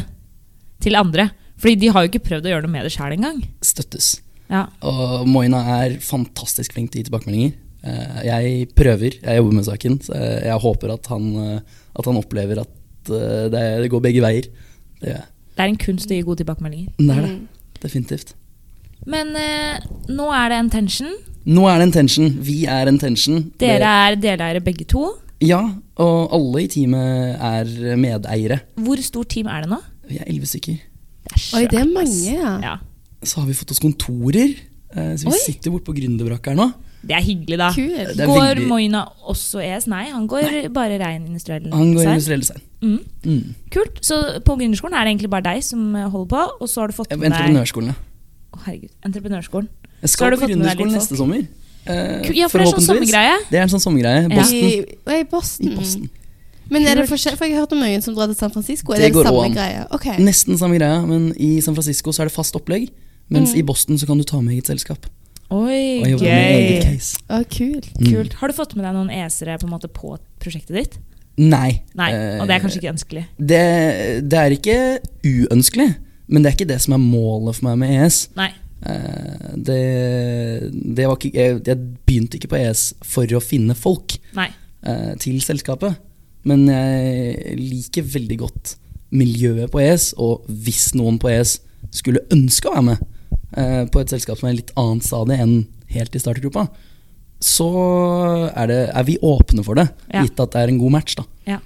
Speaker 1: til andre. Fordi de har jo ikke prøvd å gjøre noe med det sjøl engang.
Speaker 4: støttes.
Speaker 1: Ja.
Speaker 4: Og Moina er fantastisk flink til å gi tilbakemeldinger. Eh, jeg prøver, jeg jobber med saken. Så jeg jeg håper at han, eh, at han opplever at eh, det, det går begge veier. Det gjør jeg.
Speaker 1: Det er en kunst å gi gode tilbakemeldinger.
Speaker 4: Men Det er det. Definitivt.
Speaker 1: Men eh, nå er det en tension.
Speaker 4: Nå er det en tension. Vi er en tension.
Speaker 1: Dere er deleiere begge to.
Speaker 4: Det- Ja, og alle i teamet er medeiere.
Speaker 1: Hvor stort team er det nå?
Speaker 4: Vi er elleve stykker.
Speaker 1: Det er
Speaker 2: Oi, det
Speaker 1: svært,
Speaker 2: er
Speaker 1: ass.
Speaker 2: mange, ja.
Speaker 1: Ja.
Speaker 4: så har vi fått oss kontorer. eh, Så vi
Speaker 2: Oi.
Speaker 4: sitter borte på Gründerbrakk her nå.
Speaker 1: Det er hyggelig, da.
Speaker 2: Kult.
Speaker 4: Det er
Speaker 1: Går
Speaker 4: veldig-
Speaker 1: Moina også ES? Nei, han går bare rein industriell
Speaker 4: Han går
Speaker 1: design.
Speaker 4: i industriell design.
Speaker 1: Mm.
Speaker 4: Mm.
Speaker 1: Kult. Så på gründerskolen er det egentlig bare deg som eh, holder på, og så har du fått med deg
Speaker 4: Entreprenørskolen, ja.
Speaker 1: Å, herregud, entreprenørskolen. Så
Speaker 4: Jeg
Speaker 1: har
Speaker 4: skal
Speaker 1: du
Speaker 4: på
Speaker 1: fått med deg
Speaker 4: Gründerskolen
Speaker 1: litt sånn-
Speaker 4: neste sommer. eh,
Speaker 1: Ku- Ja, for det er sånn
Speaker 4: forhåpentligvis.
Speaker 1: sommergreie.
Speaker 4: Det er en sånn sommergreie.
Speaker 1: Ja.
Speaker 4: Boston.
Speaker 2: I, i Boston.
Speaker 4: I Boston.
Speaker 2: Men er det
Speaker 1: Kult.
Speaker 2: forskjell? For jeg har hørt om noen som drar til San Francisco. Er
Speaker 4: Det
Speaker 2: det,
Speaker 4: går
Speaker 2: det samme
Speaker 4: an.
Speaker 2: greia? Ok.
Speaker 4: Nesten samme greia, men i San Francisco så er det fast opplegg. Mens
Speaker 1: Mm.
Speaker 4: i Boston så kan du ta med eget selskap.
Speaker 1: Oi,
Speaker 4: Og jobbe med
Speaker 1: gøy.
Speaker 4: eget case.
Speaker 2: Å, kult.
Speaker 4: Mm.
Speaker 1: Kult. Har du fått med deg noen esere på, en måte på prosjektet ditt?
Speaker 4: Nei.
Speaker 1: Nei,
Speaker 4: eh,
Speaker 1: og det er kanskje ikke ønskelig.
Speaker 4: det, det er ikke uønskelig, men det er ikke det som er målet for meg med E ES.
Speaker 1: Nei.
Speaker 4: Eh, det, det var ikke, jeg, jeg begynte ikke på ES for å finne folk
Speaker 1: Nei.
Speaker 4: eh, til selskapet, men jeg liker veldig godt miljøet på ES, og hvis noen på ES skulle ønske å være med eh, på et selskap som er i litt annet stadie enn helt i startergruppa, så er, det, er vi åpne for det,
Speaker 1: Ja.
Speaker 4: gitt at det er en god match, da.
Speaker 1: Ja.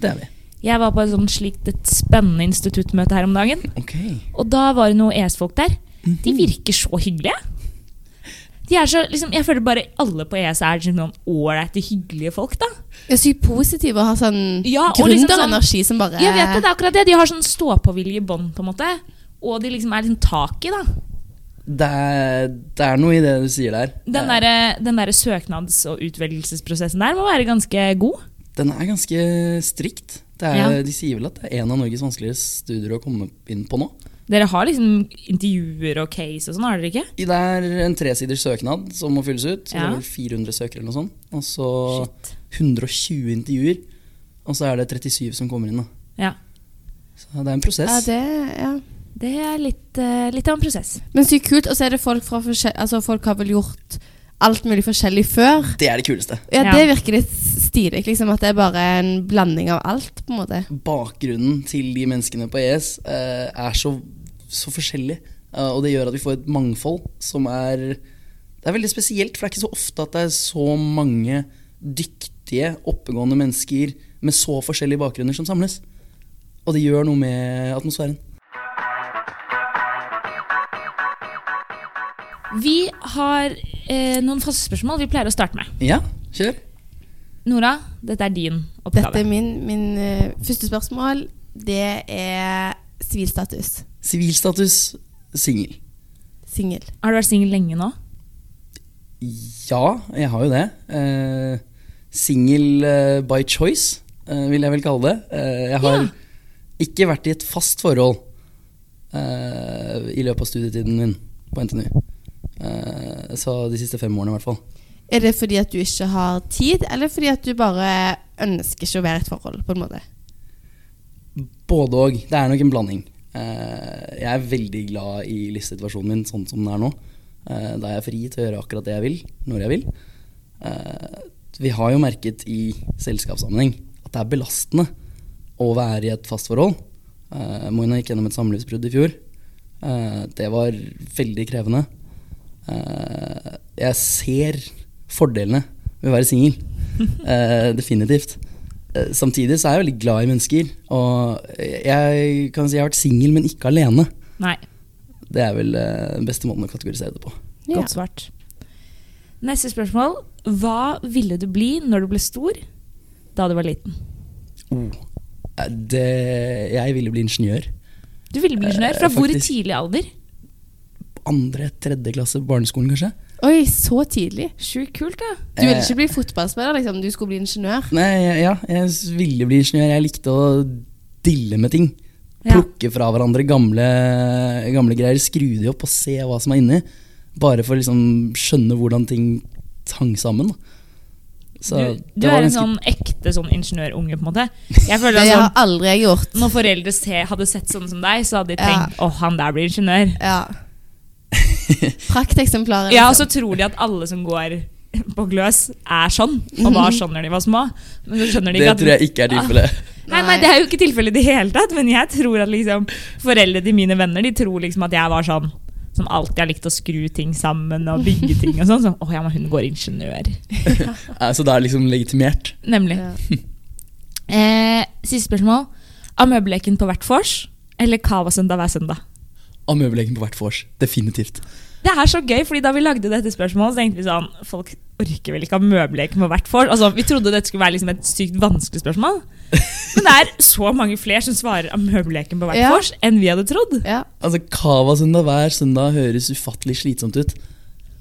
Speaker 4: Det er vi.
Speaker 1: Jeg var på et sånt slikt et spennende instituttmøte her om dagen,
Speaker 4: Ok.
Speaker 1: og da var det noen ES-folk der.
Speaker 4: Mhm.
Speaker 1: De virker så hyggelige. De er så, liksom, jeg føler bare alle på ES er liksom noen ålreite, hyggelige folk, da.
Speaker 2: Jeg er sykt positiv og har sånn
Speaker 1: Ja, og liksom
Speaker 2: gründerenergi som bare
Speaker 1: Jeg vet det, det er akkurat det. De har sånn stå-på-vilje i bånd, på en måte. Og de liksom er liksom tak i, da.
Speaker 4: Det er, det er noe i det du sier der.
Speaker 1: Den
Speaker 4: Eh,
Speaker 1: derre den derre søknads- og utvelgelsesprosessen der må være ganske god.
Speaker 4: Den er ganske strikt. Det er,
Speaker 1: Ja.
Speaker 4: De sier vel at det er en av Norges vanskeligere studier å komme inn på nå.
Speaker 1: Dere har liksom intervjuer og case og sånn, har dere ikke?
Speaker 4: I Det er en tresiders søknad som må fylles ut. Så Det
Speaker 1: Ja.
Speaker 4: er vel 400 søkere eller noe sånt. Og så 120 intervjuer. Og så er det 37 som kommer inn. Da.
Speaker 1: Ja.
Speaker 4: Så det er en prosess.
Speaker 2: Ja, det ja.
Speaker 1: Det er litt, eh, litt av en prosess.
Speaker 2: Men sykt kult. Og så er det folk fra forskjell... Altså, folk har vel gjort alt mulig forskjellig før.
Speaker 4: det er det kuleste.
Speaker 2: Ja,
Speaker 1: Ja.
Speaker 2: det virker litt stilig, liksom. At det er bare en blanding av alt, på en måte.
Speaker 4: bakgrunnen til de menneskene på ES eh, er så, så forskjellig. Eh, og det gjør at vi får et mangfold som er Det er veldig spesielt, for det er ikke så ofte at det er så mange dyktige, oppegående mennesker med så forskjellige bakgrunner som samles. Og det gjør noe med atmosfæren.
Speaker 1: Vi har eh, noen faste spørsmål vi pleier å starte med.
Speaker 4: Ja, kjør.
Speaker 1: Nora, dette er din oppgave.
Speaker 2: Dette er min, min eh, første spørsmål. Det er sivilstatus.
Speaker 4: Sivilstatus singel.
Speaker 2: Singel.
Speaker 1: Har du vært singel lenge nå?
Speaker 4: Ja, jeg har jo det. Eh, Singel eh, by choice, eh, vil jeg vel kalle det. Eh, jeg har
Speaker 1: Ja.
Speaker 4: ikke vært i et fast forhold eh, i løpet av studietiden min på NTNU. Eh, så de siste fem årene, i hvert fall.
Speaker 2: Er det fordi at du ikke har tid, eller fordi at du bare ønsker ikke å være i et forhold? på en måte?
Speaker 4: Både og. Det er nok en blanding. Eh, jeg er veldig glad i livssituasjonen min sånn som den er nå. Eh, da er jeg fri til å gjøre akkurat det jeg vil, når jeg vil. Eh, vi har jo merket i selskapssammenheng at det er belastende å være i et fast forhold. Eh, Moina gikk gjennom et samlivsbrudd i fjor. Eh, det var veldig krevende. Eh, jeg ser fordelene med å være singel. Eh, definitivt. Eh, Samtidig så er jeg veldig glad i mennesker. Og jeg kan si jeg har vært singel, men ikke alene.
Speaker 1: Nei.
Speaker 4: Det er vel eh, den beste måten å kategorisere det på.
Speaker 2: Ja.
Speaker 1: Godt svart. Neste spørsmål. Hva ville du bli når du ble stor da du var liten?
Speaker 4: Eh, Det, jeg ville bli ingeniør.
Speaker 1: Du ville bli ingeniør.
Speaker 4: Eh,
Speaker 1: Fra hvor i
Speaker 4: faktisk.
Speaker 1: tidlig alder?
Speaker 4: Andre, tredje klasse på barneskolen, kanskje.
Speaker 2: Oi, så tidlig!
Speaker 1: Sjukt kult, da.
Speaker 2: Du ville
Speaker 4: Eh,
Speaker 2: ikke bli fotballspiller, liksom. Du skulle bli ingeniør.
Speaker 4: Nei, ja, jeg s- ville bli ingeniør. Jeg likte å dille med ting.
Speaker 1: Ja.
Speaker 4: Plukke fra hverandre gamle, gamle greier, skru de opp og se hva som er inni. Bare for å liksom skjønne hvordan ting hang sammen. Da. Så
Speaker 1: Du, du
Speaker 4: det var
Speaker 1: er en
Speaker 4: ganske-
Speaker 1: sånn ekte sånn ingeniørunge, på en måte. Jeg føler
Speaker 2: Det
Speaker 1: at
Speaker 2: har
Speaker 1: sånn,
Speaker 2: aldri jeg gjort.
Speaker 1: Når foreldre se, hadde sett sånne som deg, så hadde de
Speaker 2: Ja.
Speaker 1: tenkt 'Å, han der blir ingeniør'.
Speaker 2: Ja. Prakteksemplarer.
Speaker 1: Ja, og
Speaker 2: liksom.
Speaker 1: så tror de at alle som går på gløs, er sånn. Og var sånn når de var små. Men så skjønner de
Speaker 4: Mhm. Det
Speaker 1: ikke at
Speaker 4: tror jeg ikke er tilfellet.
Speaker 1: Nei, nei, det er jo ikke tilfellet i det hele tatt, men jeg tror at liksom, foreldre til mine venner de tror liksom at jeg var sånn som alltid har likt å skru ting sammen og bygge ting og sånn. Sånn, Å ja, men hun går ingeniør.
Speaker 4: Nei, Så det er liksom legitimert.
Speaker 1: Nemlig.
Speaker 2: Ja.
Speaker 1: Eh, siste spørsmål. Av møbelleken på hvert vors eller Cava-søndag hver søndag?
Speaker 4: Av møbelleken på hvert vors. Definitivt.
Speaker 1: Det er så gøy, fordi da vi lagde dette spørsmålet, så tenkte vi sånn Folk orker vel ikke ha møbelleken på hvert vors? Altså, vi trodde dette skulle være liksom et sykt vanskelig spørsmål. Men det er så mange flere som svarer av møbelleken på hvert
Speaker 2: Ja.
Speaker 1: vors enn vi hadde trodd.
Speaker 2: Ja.
Speaker 4: Altså, Cava-søndag hver søndag høres ufattelig slitsomt ut.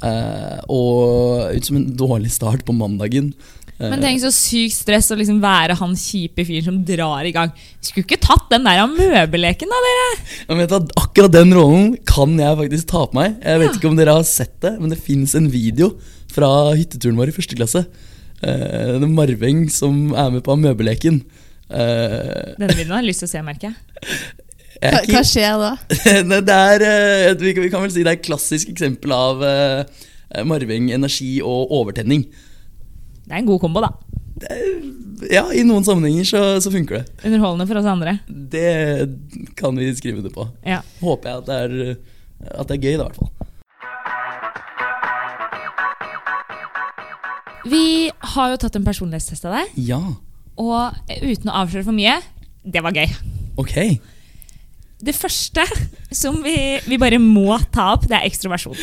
Speaker 4: Eh, og ut som en dårlig start på mandagen. Eh,
Speaker 1: Men tenk så sykt stress å liksom være han kjipe fyren som drar i gang. Skulle ikke tatt den der av møbelleken, da, dere!
Speaker 4: Jeg vet at Akkurat den rollen kan jeg faktisk ta på meg. Jeg vet ikke om dere har sett det, men det fins en video fra hytteturen vår i første klasse. Eh, det er Marveng som er med på Amøbeleken. Eh,
Speaker 1: Denne videoen har jeg lyst til å se, merker jeg.
Speaker 4: jeg er
Speaker 2: Hva,
Speaker 4: ikke-
Speaker 2: hva skjer da?
Speaker 4: Nei, det er, eh, vi kan- vi kan vel si det er et klassisk eksempel av eh, Marveng, energi og overtenning.
Speaker 1: Det er en god kombo, da.
Speaker 4: Ja, i noen sammenhenger så, så funker det.
Speaker 1: Underholdende for oss andre.
Speaker 4: Det kan vi skrive under på.
Speaker 1: Ja.
Speaker 4: Håper jeg at det er, eh, at det er gøy, da, i hvert fall.
Speaker 1: Vi har jo tatt en personlighetstest av deg,
Speaker 4: Ja,
Speaker 1: og eh, uten å avsløre for mye det var gøy.
Speaker 4: ok.
Speaker 1: Det første som vi, vi bare må ta opp, det er ekstroversjon.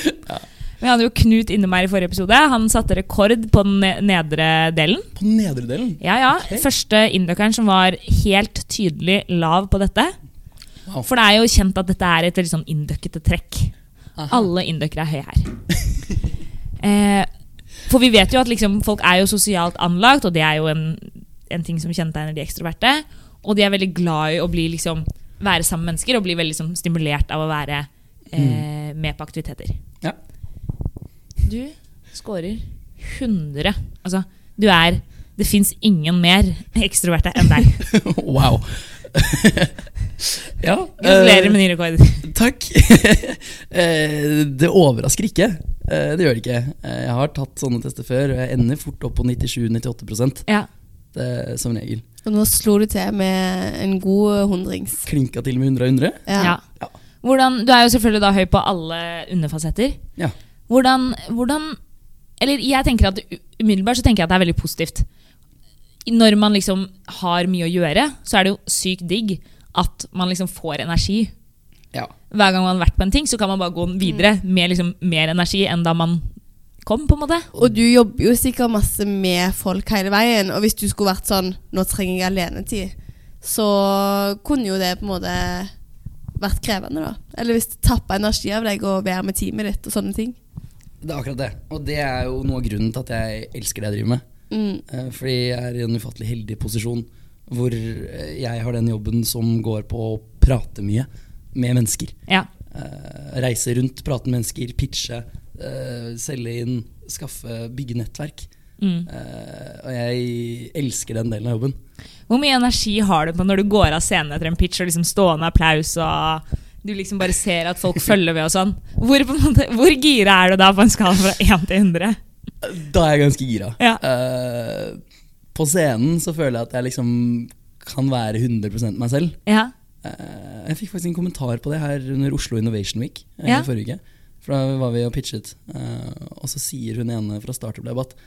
Speaker 1: Vi hadde jo Knut innom her i forrige episode. Han satte rekord på den ne- nedre delen.
Speaker 4: På den nedre delen.
Speaker 1: Ja, ja.
Speaker 4: Ok.
Speaker 1: Første indokeren som var helt tydelig lav på dette.
Speaker 4: Wow.
Speaker 1: For det er jo kjent at dette er et veldig sånn inndøkkete trekk.
Speaker 4: Aha.
Speaker 1: Alle inndøkkere er høye her. eh, for vi vet jo at liksom, folk er jo sosialt anlagt, og det er jo en, en ting som kjennetegner de ekstroverte. Og de er veldig glad i å bli, liksom, være sammen med mennesker og bli veldig liksom, stimulert av å være eh, med på aktiviteter.
Speaker 4: Ja.
Speaker 1: Du scorer 100. Altså, du er Det fins ingen mer ekstroverte enn deg.
Speaker 4: Wow. ja.
Speaker 1: Gratulerer med ny rekord.
Speaker 4: Eh, takk. eh, det overrasker ikke. Eh, det gjør det ikke. Eh, jeg har tatt sånne tester før, og jeg ender fort opp på 97-98
Speaker 1: Ja.
Speaker 4: eh, som regel.
Speaker 2: Og nå slo du til med en god hundrings.
Speaker 4: Klinka til med 100 av 100.
Speaker 1: Ja.
Speaker 4: Ja.
Speaker 1: Hvordan, du er jo selvfølgelig da høy på alle underfasetter.
Speaker 4: Ja.
Speaker 1: Hvordan, hvordan Eller jeg tenker at umiddelbart så tenker jeg at det er veldig positivt. Når man liksom har mye å gjøre, så er det jo sykt digg at man liksom får energi.
Speaker 4: Ja.
Speaker 1: Hver gang man har vært på en ting, så kan man bare gå videre med liksom mer energi enn da man snakke om, på en måte.
Speaker 2: Og du jobber jo sikkert masse med folk hele veien. Og hvis du skulle vært sånn Nå trenger jeg alenetid, så kunne jo det på en måte vært krevende, da. Eller hvis det tappa energi av deg å være med teamet ditt og sånne ting.
Speaker 4: Det er akkurat det. Og det er jo noe av grunnen til at jeg elsker det jeg driver med.
Speaker 2: Mm.
Speaker 4: Eh, Fordi jeg er i en ufattelig heldig posisjon hvor eh, jeg har den jobben som går på å prate mye med mennesker.
Speaker 1: Ja.
Speaker 4: Eh, reise rundt, prate med mennesker, pitche, eh, selge inn, skaffe, bygge nettverk.
Speaker 1: Mm.
Speaker 4: Eh, og jeg elsker den delen av jobben.
Speaker 1: Hvor mye energi har du på når du går av scenen etter en pitch og liksom stående applaus og du liksom bare ser at folk følger med og sånn? Hvor, på en måte, hvor gira er du da på en skala fra 1 til 100?
Speaker 4: Da er jeg ganske gira.
Speaker 1: Ja.
Speaker 4: Eh, på scenen så føler jeg at jeg liksom kan være 100 meg selv.
Speaker 1: Ja.
Speaker 4: Eh, jeg fikk faktisk en kommentar på det her under Oslo Innovation Week eh,
Speaker 1: Ja.
Speaker 4: i forrige uke. For da var vi og pitchet, eh, og så sier hun ene fra Startup-lab at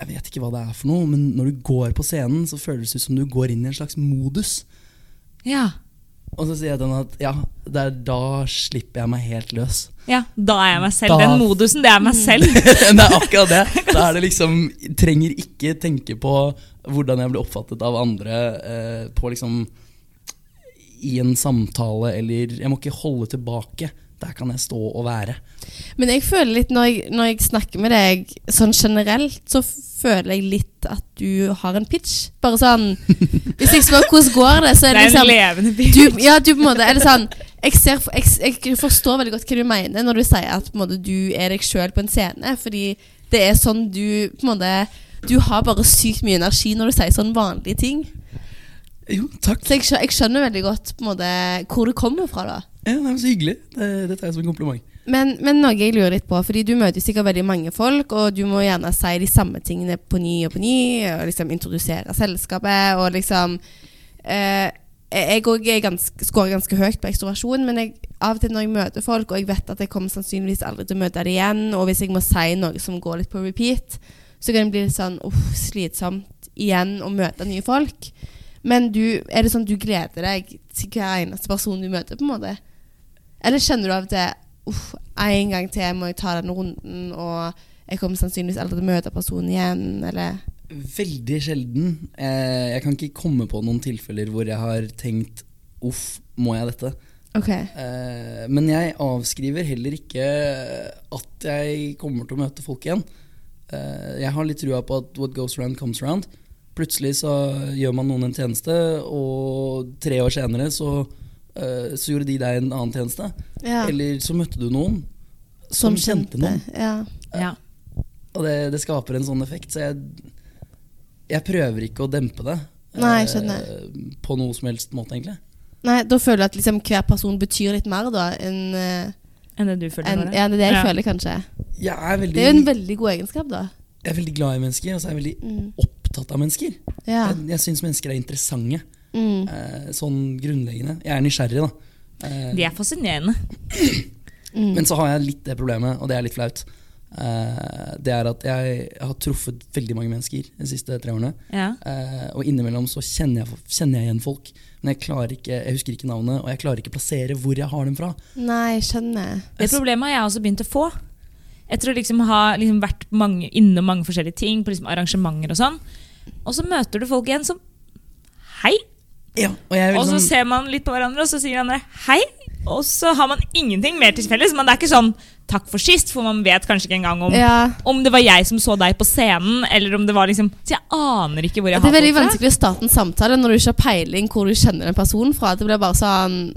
Speaker 4: jeg vet ikke hva det er for noe, men når du går på scenen, så føles det ut som du går inn i en slags modus.
Speaker 1: ja.
Speaker 4: Og så sier jeg til henne at ja, det er da slipper jeg meg helt løs.
Speaker 1: Ja, da er jeg meg selv.
Speaker 4: Da-
Speaker 1: Den modusen, det er
Speaker 2: Mm.
Speaker 1: meg selv.
Speaker 4: det er akkurat det. Da er det liksom Trenger ikke tenke på hvordan jeg blir oppfattet av andre eh, på liksom I en samtale eller Jeg må ikke holde tilbake. Der kan jeg stå og være.
Speaker 2: Men jeg føler litt, når jeg, når jeg snakker med deg sånn generelt, så føler jeg litt at du har en pitch. Bare sånn Hvis jeg spør hvordan går det,
Speaker 1: Det
Speaker 2: så er
Speaker 1: er
Speaker 2: det
Speaker 1: en
Speaker 2: liksom
Speaker 1: levende by.
Speaker 2: du, ja, du på en måte, er det sånn jeg, ser, jeg, jeg forstår veldig godt hva du mener når du sier at på en måte, du er deg sjøl på en scene. Fordi det er sånn du på en måte, Du har bare sykt mye energi når du sier sånne vanlige ting.
Speaker 4: Jo, takk.
Speaker 2: Så jeg, skjø- jeg skjønner veldig godt på en måte, hvor det kommer fra. da
Speaker 4: Ja, det er så hyggelig. Det, det tar jeg som en kompliment.
Speaker 2: men, men noe jeg lurer litt på, fordi du møter sikkert veldig mange folk, og du må gjerne si de samme tingene på ny og på ny, og liksom introdusere selskapet, og liksom eh, Jeg òg scorer ganske høyt på ekstroversjon, men jeg, av og til når jeg møter folk, og jeg vet at jeg kommer sannsynligvis aldri til å møte dem igjen, og hvis jeg må si noe som går litt på repeat, så kan det bli litt sånn uff, slitsomt igjen å møte nye folk. Men du, er det sånn du gleder deg til hver eneste person du møter, på en måte? Eller kjenner du av og til Uff, en gang til må jeg ta den runden, og jeg kommer sannsynligvis aldri til å møte personen igjen, eller
Speaker 4: Veldig sjelden. Eh, jeg kan ikke komme på noen tilfeller hvor jeg har tenkt uff, må jeg dette?
Speaker 2: OK.
Speaker 4: Eh, men jeg avskriver heller ikke at jeg kommer til å møte folk igjen. Eh, jeg har litt trua på at what goes around comes around. Plutselig så gjør man noen en tjeneste, og tre år senere så, eh, så gjorde de deg en annen tjeneste.
Speaker 2: Ja.
Speaker 4: Eller så møtte du noen som, kjente noen.
Speaker 2: Ja.
Speaker 1: Ja.
Speaker 4: Og det, det skaper en sånn effekt, så jeg, jeg prøver ikke å dempe det. eh,
Speaker 2: Nei, skjønner.
Speaker 4: På noe som helst måte, egentlig.
Speaker 2: Nei, da føler jeg at liksom hver person betyr litt mer, da, enn eh,
Speaker 1: Enn det du føler
Speaker 2: enn-
Speaker 1: Nora.
Speaker 2: ja, det er det jeg
Speaker 1: Ja.
Speaker 2: føler, kanskje.
Speaker 4: Jeg er, veldig,
Speaker 2: Det er jo en veldig god egenskap, da.
Speaker 4: jeg er veldig glad i mennesker, og så er jeg veldig
Speaker 2: Mm.
Speaker 4: opptatt av mennesker.
Speaker 2: Ja.
Speaker 4: Jeg, jeg syns mennesker er interessante.
Speaker 2: Mm.
Speaker 4: Eh, sånn grunnleggende. Jeg er nysgjerrig, da. Eh,
Speaker 1: De er fascinerende.
Speaker 2: Mm.
Speaker 4: Men så har jeg litt det problemet, og det er litt flaut. Eh, det er at jeg har truffet veldig mange mennesker de siste tre årene.
Speaker 1: Ja.
Speaker 4: Eh, og innimellom så kjenner jeg, kjenner jeg igjen folk, men jeg, klarer ikke, jeg husker ikke navnet, og jeg klarer ikke plassere hvor jeg har dem fra.
Speaker 2: Nei, skjønner.
Speaker 1: Det problemet har jeg også begynt å få. Etter å liksom ha liksom vært mange, innom mange forskjellige ting, på liksom arrangementer og sånn. Og så møter du folk igjen som Hei!
Speaker 4: Ja, og jeg er
Speaker 1: Og
Speaker 4: veldig
Speaker 1: så
Speaker 4: sånn,
Speaker 1: ser man litt på hverandre, og så sier hverandre hei. Og så har man ingenting mer til felles. Men det er ikke sånn takk for sist, for man vet kanskje ikke engang om
Speaker 2: Ja.
Speaker 1: Om det var jeg som så deg på scenen, eller om det var liksom Så jeg aner ikke hvor jeg
Speaker 2: Det er
Speaker 1: har
Speaker 2: veldig
Speaker 1: folk fra.
Speaker 2: vanskelig å starte en samtale når du ikke har peiling hvor du kjenner den personen fra. Det blir bare sånn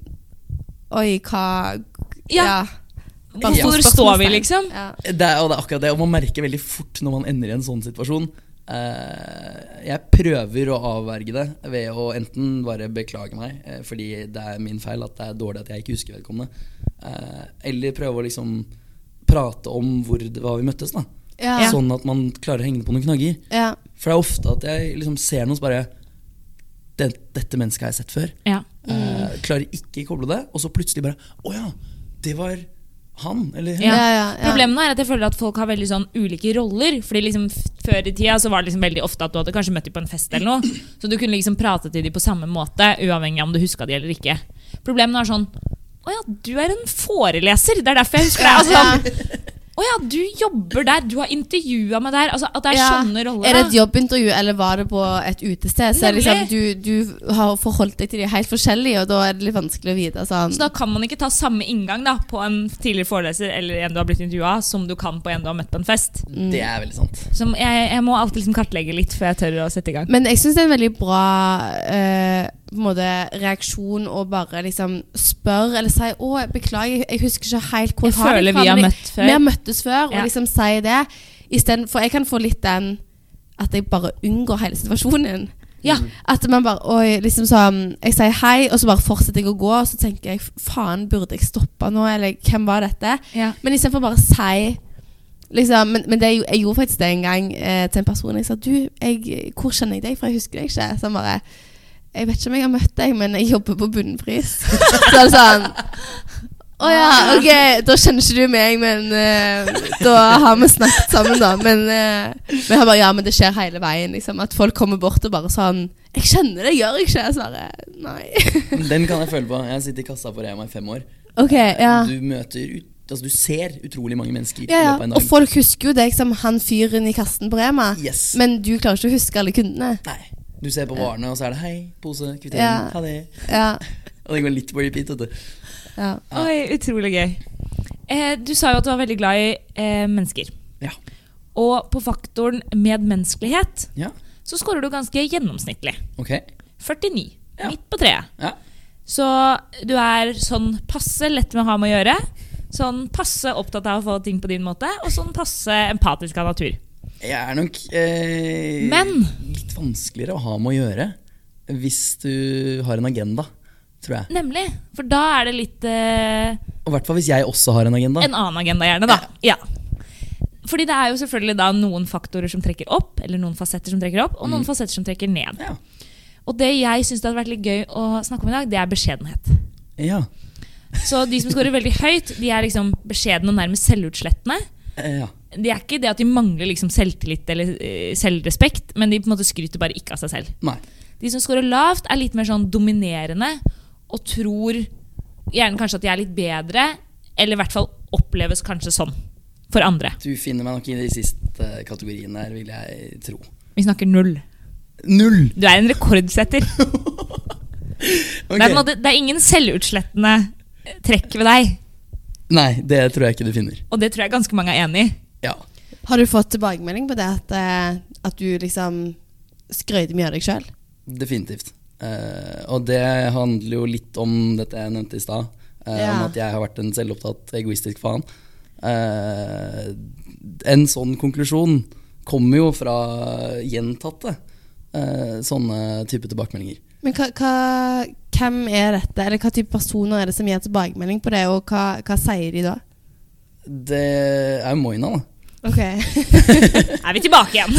Speaker 2: Oi, hva
Speaker 1: Ja. Hvor
Speaker 2: Bare sånn
Speaker 1: står vi,
Speaker 2: spørsmålstegn.
Speaker 1: liksom?
Speaker 2: Ja.
Speaker 4: det er, og det er akkurat det, og man merker veldig fort når man ender i en sånn situasjon. Eh, jeg prøver å avverge det ved å enten bare beklage meg, eh, fordi det er min feil at det er dårlig at jeg ikke husker vedkommende, eh, eller prøve å liksom prate om hvor det var vi møttes, da.
Speaker 2: Ja.
Speaker 4: Sånn at man klarer å henge på noen knagger.
Speaker 2: Ja.
Speaker 4: For det er ofte at jeg liksom ser noe så bare "Den- Dette mennesket har jeg sett før.
Speaker 1: Ja.
Speaker 4: Eh,
Speaker 2: Mm.
Speaker 4: klarer ikke koble det, og så plutselig bare Å ja, det var han eller hun.
Speaker 1: Ja.
Speaker 2: Ja, ja, ja.
Speaker 1: Problemet nå er at jeg føler at folk har veldig sånn ulike roller. Fordi liksom f- Før i tida så var det liksom veldig ofte at du hadde kanskje møtt dem på en fest, eller noe så du kunne liksom prate til dem på samme måte, uavhengig av om du huska dem eller ikke. Problemet nå er sånn Å ja, du er en foreleser! Det er derfor jeg husker deg. Altså, sånn, Å ja, du jobber der, du har intervjua meg der. Altså, at det er
Speaker 2: Ja.
Speaker 1: sånne roller.
Speaker 2: Er det et
Speaker 1: da.
Speaker 2: jobbintervju, eller var det på et utested? Så er det liksom, du, du har forholdt deg til de helt forskjellige, og da er det litt vanskelig å vite. Sånn.
Speaker 1: Så da kan man ikke ta samme inngang da, på en tidligere foreleser eller en du har blitt intervjua, som du kan på en du har møtt på en fest.
Speaker 4: Det er veldig sant.
Speaker 1: Så jeg, jeg må alltid liksom kartlegge litt før jeg tør å sette i gang.
Speaker 2: Men jeg syns det er en veldig bra eh, på en måte, reaksjon å bare liksom spørre eller si 'Å, beklager, jeg- jeg husker ikke helt hvor
Speaker 1: Jeg
Speaker 2: har det
Speaker 1: føler
Speaker 2: fra,
Speaker 1: vi har
Speaker 2: men jeg-
Speaker 1: møtt før.»
Speaker 2: Vi har møttes før,
Speaker 1: Ja.
Speaker 2: og liksom si det. I stedet, for jeg kan få litt den at jeg bare unngår hele situasjonen.
Speaker 1: Ja.
Speaker 2: At man bare Oi, liksom sånn Jeg sier hei, og så bare fortsetter jeg å gå, og så tenker jeg faen, burde jeg stoppe nå, eller hvem var dette?
Speaker 1: Ja.
Speaker 2: Men istedenfor bare å si liksom, Men, men det, er jo- jeg gjorde faktisk det en gang eh, til en person. Jeg sa du, jeg, 'Hvor kjenner jeg deg fra? Jeg husker deg ikke.' Så han bare 'Jeg vet ikke om jeg har møtt deg, men jeg jobber på Bunnpris'. så er det sånn å ja, ok, da kjenner ikke du meg, men eh, da har vi snakket sammen, da. Men, eh, men han bare, ja, men det skjer hele veien. Liksom, at folk kommer bort og bare sånn 'Jeg kjenner deg, gjør jeg ikke?' Jeg svarer nei.
Speaker 4: Den kan jeg føle på. Jeg sitter i kassa på Rema i fem år.
Speaker 2: Ok, ja.
Speaker 4: Du møter ut, altså du ser utrolig mange
Speaker 2: Ja,
Speaker 4: mennesker i
Speaker 2: ja.
Speaker 4: løpet av en
Speaker 2: Og
Speaker 4: dag.
Speaker 2: folk husker jo deg som han fyren i kassen på Rema,
Speaker 4: Yes.
Speaker 2: men du klarer ikke å huske alle kundene.
Speaker 4: Nei. Du ser på varene, og så er det 'hei, pose, kvittering,
Speaker 2: Ja.
Speaker 4: ha det'.
Speaker 2: Ja,
Speaker 4: Og det går litt på repeat. vet du.
Speaker 2: ja.
Speaker 4: Ja.
Speaker 1: Oi, utrolig gøy. Eh, du sa jo at du var veldig glad i eh, mennesker.
Speaker 4: Ja.
Speaker 1: Og på faktoren medmenneskelighet
Speaker 4: Ja,
Speaker 1: så scorer du ganske gjennomsnittlig.
Speaker 4: ok.
Speaker 1: 49.
Speaker 4: Ja.
Speaker 1: Midt på treet.
Speaker 4: Ja.
Speaker 1: Så du er sånn passe lett med å ha med å gjøre. Sånn passe opptatt av å få ting på din måte, og sånn passe empatisk av natur.
Speaker 4: Jeg er nok eh,
Speaker 1: Men-
Speaker 4: litt vanskeligere å ha med å gjøre hvis du har en agenda, tror jeg.
Speaker 1: Nemlig. For da er det litt eh,
Speaker 4: Og i hvert fall hvis jeg også har en agenda.
Speaker 1: En annen agenda, gjerne, da. Ja. Fordi det er jo selvfølgelig da noen faktorer som trekker opp, eller noen fasetter som trekker opp, og
Speaker 4: Mm.
Speaker 1: noen fasetter som trekker ned.
Speaker 4: Ja.
Speaker 1: Og det jeg syns hadde vært litt gøy å snakke om i dag, det er beskjedenhet.
Speaker 4: ja.
Speaker 1: Så de som scorer veldig høyt, de er liksom beskjedne og nærmest selvutslettende.
Speaker 4: Eh, ja.
Speaker 1: Det er ikke det at de mangler liksom selvtillit eller eh, selvrespekt, men de på en måte skryter bare ikke av seg selv.
Speaker 4: Nei.
Speaker 1: De som scorer lavt, er litt mer sånn dominerende og tror gjerne kanskje at de er litt bedre, eller i hvert fall oppleves kanskje sånn for andre.
Speaker 4: Du finner meg nok i de siste kategoriene her, vil jeg tro.
Speaker 1: Vi snakker null.
Speaker 4: Null!
Speaker 1: Du er en rekordsetter. Det,
Speaker 4: Ok.
Speaker 1: er på en måte, det er ingen selvutslettende eh, trekk ved deg.
Speaker 4: Nei, det tror jeg ikke du finner.
Speaker 1: Og det tror jeg ganske mange er enig i.
Speaker 4: Ja.
Speaker 2: Har du fått tilbakemelding på det at, eh, at du liksom skrøyter mye av deg sjøl?
Speaker 4: Definitivt. Eh, og det handler jo litt om dette jeg nevnte i stad. eh,
Speaker 2: Ja.
Speaker 4: Om at jeg har vært en selvopptatt, egoistisk faen. Eh, en sånn konklusjon kommer jo fra gjentatte eh, sånne type tilbakemeldinger.
Speaker 2: Men hva, hva, hvem er dette, eller hva type personer er det som gir tilbakemelding på det, og hva, hva sier de da?
Speaker 4: Det er jo Moina, da.
Speaker 2: Ok.
Speaker 1: Er vi tilbake igjen?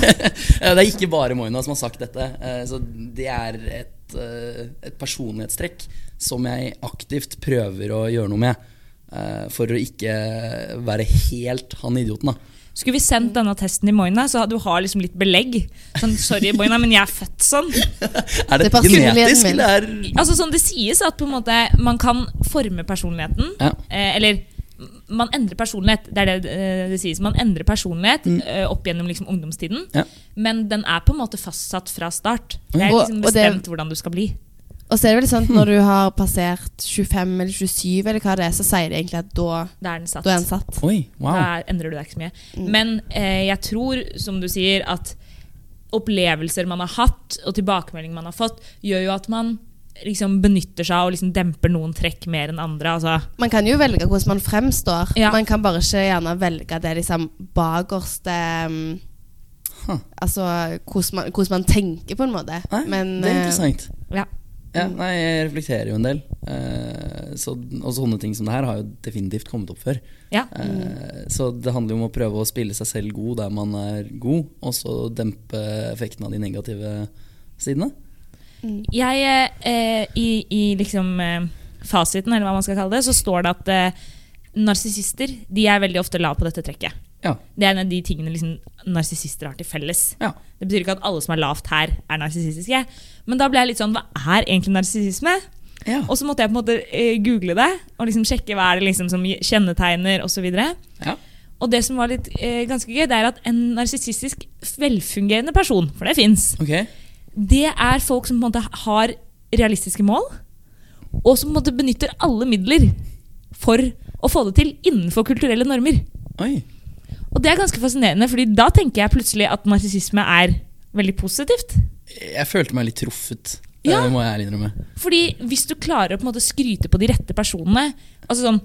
Speaker 4: Eh, Det er ikke bare Moina som har sagt dette. eh, Så det er et, eh, et personlighetstrekk som jeg aktivt prøver å gjøre noe med. eh, For å ikke være helt han idioten, da.
Speaker 1: Skulle vi sendt denne testen i Moina, så du har liksom litt belegg. Sånn, sorry, Moina, men jeg er født sånn.
Speaker 4: Er det,
Speaker 2: Det er personligheten
Speaker 4: genetisk,
Speaker 2: min.
Speaker 4: eller er
Speaker 1: Altså, sånn det sies at på en måte, man kan forme personligheten.
Speaker 4: Ja.
Speaker 1: Eh, eller man endrer personlighet. Det er det eh, det sies. Man endrer personlighet eh, opp gjennom liksom, ungdomstiden.
Speaker 4: Mm. Ja.
Speaker 1: Men den er på en måte fastsatt fra start. Det er
Speaker 2: Og-
Speaker 1: liksom
Speaker 2: og det-
Speaker 1: bestemt hvordan du skal bli.
Speaker 2: Og så er det vel sånn at når du har passert 25 eller 27, eller hva det er, så sier de egentlig at da,
Speaker 1: Da er den satt.
Speaker 2: da er han satt.
Speaker 4: Oi, wow.
Speaker 1: Da endrer du deg ikke så mye. Men eh, jeg tror, som du sier, at opplevelser man har hatt, og tilbakemeldinger man har fått, gjør jo at man liksom benytter seg av og liksom demper noen trekk mer enn andre. Altså.
Speaker 2: Man kan jo velge hvordan man fremstår.
Speaker 1: Ja.
Speaker 2: Man kan bare ikke gjerne velge det liksom bakerste um,
Speaker 4: Huh.
Speaker 2: Altså hvordan man, hvordan man tenker, på en måte.
Speaker 4: Nei,
Speaker 2: Men,
Speaker 4: det
Speaker 2: eh,
Speaker 4: er
Speaker 2: mm.
Speaker 4: interessant.
Speaker 1: Ja.
Speaker 4: Ja, nei, jeg reflekterer jo en del. eh, Så, og sånne ting som det her har jo definitivt kommet opp før.
Speaker 1: Ja.
Speaker 4: Eh, Så det handler jo om å prøve å spille seg selv god der man er god, og så dempe effekten av de negative sidene.
Speaker 1: Jeg, eh, eh, i, i liksom eh, fasiten, eller hva man skal kalle det, så står det at eh, narsissister de er veldig ofte lav på dette trekket.
Speaker 4: Ja.
Speaker 1: Det er en av de tingene liksom, narsissister har til felles.
Speaker 4: ja.
Speaker 1: Det betyr ikke at alle som er lavt her, er narsissistiske. Men da ble jeg litt sånn, hva er egentlig narsissisme?
Speaker 4: Ja.
Speaker 1: Og så måtte jeg på en måte eh, google det og liksom sjekke hva er det liksom som kjennetegner osv. Og, så videre.
Speaker 4: ja.
Speaker 1: Og det som var litt eh, ganske gøy, det er at en narsissistisk velfungerende person, for det fins,
Speaker 4: Ok,
Speaker 1: det er folk som på en måte har realistiske mål, og som på en måte benytter alle midler for å få det til innenfor kulturelle normer.
Speaker 4: oi.
Speaker 1: Og det er ganske fascinerende, fordi da tenker jeg plutselig at narsissisme er veldig positivt.
Speaker 4: Jeg følte meg litt truffet,
Speaker 1: Ja.
Speaker 4: det må jeg ærlig innrømme.
Speaker 1: Fordi hvis du klarer å på en måte skryte på de rette personene altså sånn,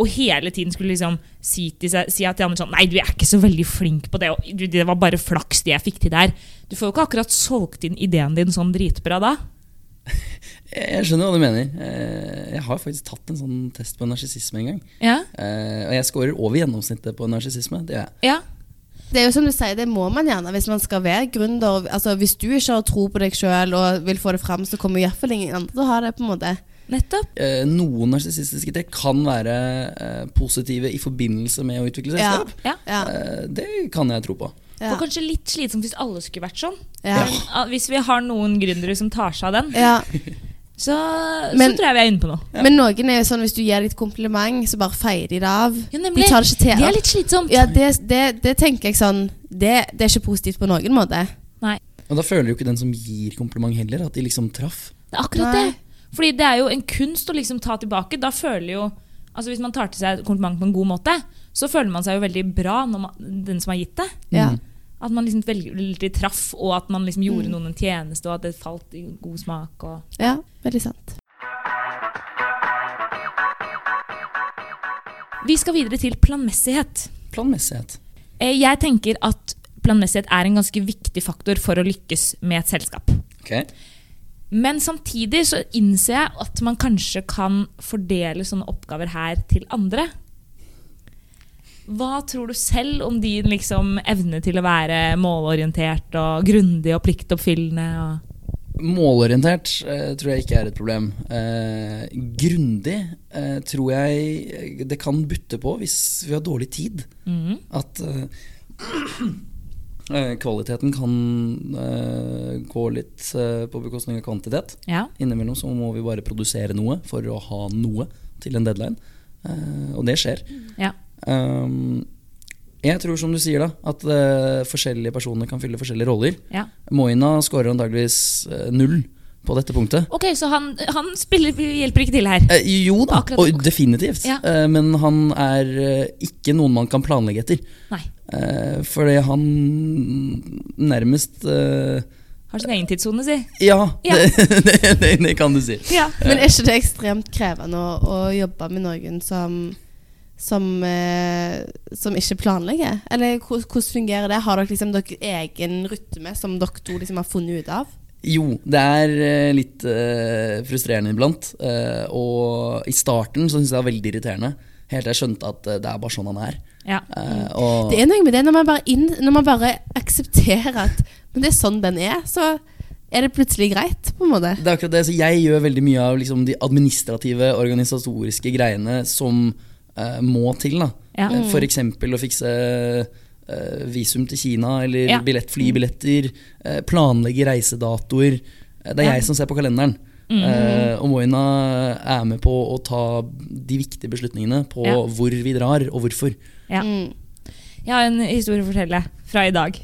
Speaker 1: Og hele tiden skulle liksom si, til seg, si at til andre sånn Nei, du er ikke så veldig flink på det. Og, du, det var bare flaks, det jeg fikk til der. Du får jo ikke akkurat solgt inn ideen din sånn dritbra da.
Speaker 4: Jeg jeg skjønner hva du mener. Eh, Jeg har faktisk tatt en sånn test på narsissisme en gang.
Speaker 1: Ja,
Speaker 4: Eh, Og jeg scorer over gjennomsnittet på narsissisme. Det gjør jeg.
Speaker 1: ja,
Speaker 2: Det er jo som du sier, det må man gjerne hvis man skal være gründer. Altså, hvis du ikke har tro på deg sjøl og vil få det fram, så kommer iallfall ingen andre til å ha det. på en måte.
Speaker 1: nettopp.
Speaker 4: Eh, Noen narsissistiske trekk kan være eh, positive i forbindelse med å utvikle
Speaker 2: Ja.
Speaker 4: selskap.
Speaker 1: Ja.
Speaker 2: Ja.
Speaker 4: Eh, Det kan jeg tro på.
Speaker 1: Det
Speaker 2: Ja.
Speaker 1: var kanskje litt slitsomt hvis alle skulle vært sånn.
Speaker 2: Ja.
Speaker 1: Men, ah, Hvis vi har noen gründere som tar seg av den,
Speaker 2: Ja.
Speaker 1: så,
Speaker 2: Men-
Speaker 1: så tror jeg vi er inne på noe.
Speaker 2: Men noen er jo sånn hvis du gir dem et kompliment, så bare feier de det av.
Speaker 1: Ja,
Speaker 2: de
Speaker 1: nemlig.
Speaker 2: tar det ikke til.
Speaker 1: Det er litt slitsomt.
Speaker 2: ja, det, det, det tenker jeg sånn det, det er ikke positivt på noen måte.
Speaker 1: Nei.
Speaker 4: Og da føler jo ikke den som gir kompliment heller, at de liksom traff.
Speaker 1: Det er akkurat
Speaker 2: Nei.
Speaker 1: det. Fordi det er jo en kunst å liksom ta tilbake. Da føler jo Altså Hvis man tar til seg et kompliment på en god måte, så føler man seg jo veldig bra, når man, den som har gitt det.
Speaker 4: Mm.
Speaker 2: Ja.
Speaker 1: At man liksom veldig, veldig traff, og at man liksom
Speaker 2: Mm.
Speaker 1: gjorde noen en tjeneste, og at det falt i god smak. Og
Speaker 2: ja, veldig sant.
Speaker 1: vi skal videre til planmessighet.
Speaker 4: Planmessighet.
Speaker 1: Eh, Jeg tenker at planmessighet er en ganske viktig faktor for å lykkes med et selskap.
Speaker 4: Ok.
Speaker 1: Men samtidig så innser jeg at man kanskje kan fordele sånne oppgaver her til andre. Hva tror du selv om din liksom evne til å være målorientert og grundig og pliktoppfyllende? Og
Speaker 4: Målorientert eh, tror jeg ikke er et problem. Eh, grundig eh, tror jeg eh, det kan butte på hvis vi har dårlig tid.
Speaker 1: Mm.
Speaker 4: At eh, eh, kvaliteten kan eh, gå litt eh, på bekostning av kvantitet.
Speaker 1: ja.
Speaker 4: Innimellom så må vi bare produsere noe for å ha noe til en deadline. Eh, og det skjer.
Speaker 1: Ja.
Speaker 4: Um, jeg tror som du sier da, at eh, forskjellige personer kan fylle forskjellige roller.
Speaker 1: Ja.
Speaker 4: Moina scorer antageligvis eh, null på dette punktet.
Speaker 1: Ok, så han, han spiller, hjelper ikke til her.
Speaker 4: Eh, jo da,
Speaker 1: Akkurat
Speaker 4: og
Speaker 1: nok.
Speaker 4: definitivt.
Speaker 1: Ja.
Speaker 4: Eh, men han er eh, ikke noen man kan planlegge etter.
Speaker 1: Nei.
Speaker 4: Eh, fordi han nærmest eh,
Speaker 1: Har sin egen tidssone, si.
Speaker 4: Ja,
Speaker 1: Ja.
Speaker 4: Det, det, det, det kan du si.
Speaker 1: Ja.
Speaker 2: Men er ikke det ekstremt krevende å, å jobbe med noen som, som, eh, som ikke planlegger? Eller hvor- hvordan fungerer det? Har dere liksom dere egen rytme som dere to liksom har funnet ut av?
Speaker 4: Jo, det er eh, litt eh, frustrerende iblant. eh, og i starten så syntes jeg det var veldig irriterende. Helt til jeg skjønte at eh, det er bare sånn han er.
Speaker 1: Ja.
Speaker 4: Eh, og,
Speaker 2: Det er noe med det når man bare, inn, når man bare aksepterer at Men det er sånn den er, så er det plutselig greit, på en måte.
Speaker 4: Det er akkurat det, så Jeg gjør veldig mye av liksom, de administrative, organisatoriske greiene som eh, må til. da.
Speaker 1: Ja.
Speaker 4: Eh, For eksempel å fikse eh, visum til Kina, eller
Speaker 1: Ja.
Speaker 4: billett, flybilletter. eh, planlegge reisedatoer. Eh, det er
Speaker 1: Ja.
Speaker 4: jeg som ser på kalenderen. Eh, og Moina eh, er med på å ta de viktige beslutningene på
Speaker 1: Ja.
Speaker 4: hvor vi drar, og hvorfor.
Speaker 1: Ja.
Speaker 2: Mm.
Speaker 1: Jeg har en historie å fortelle fra i dag.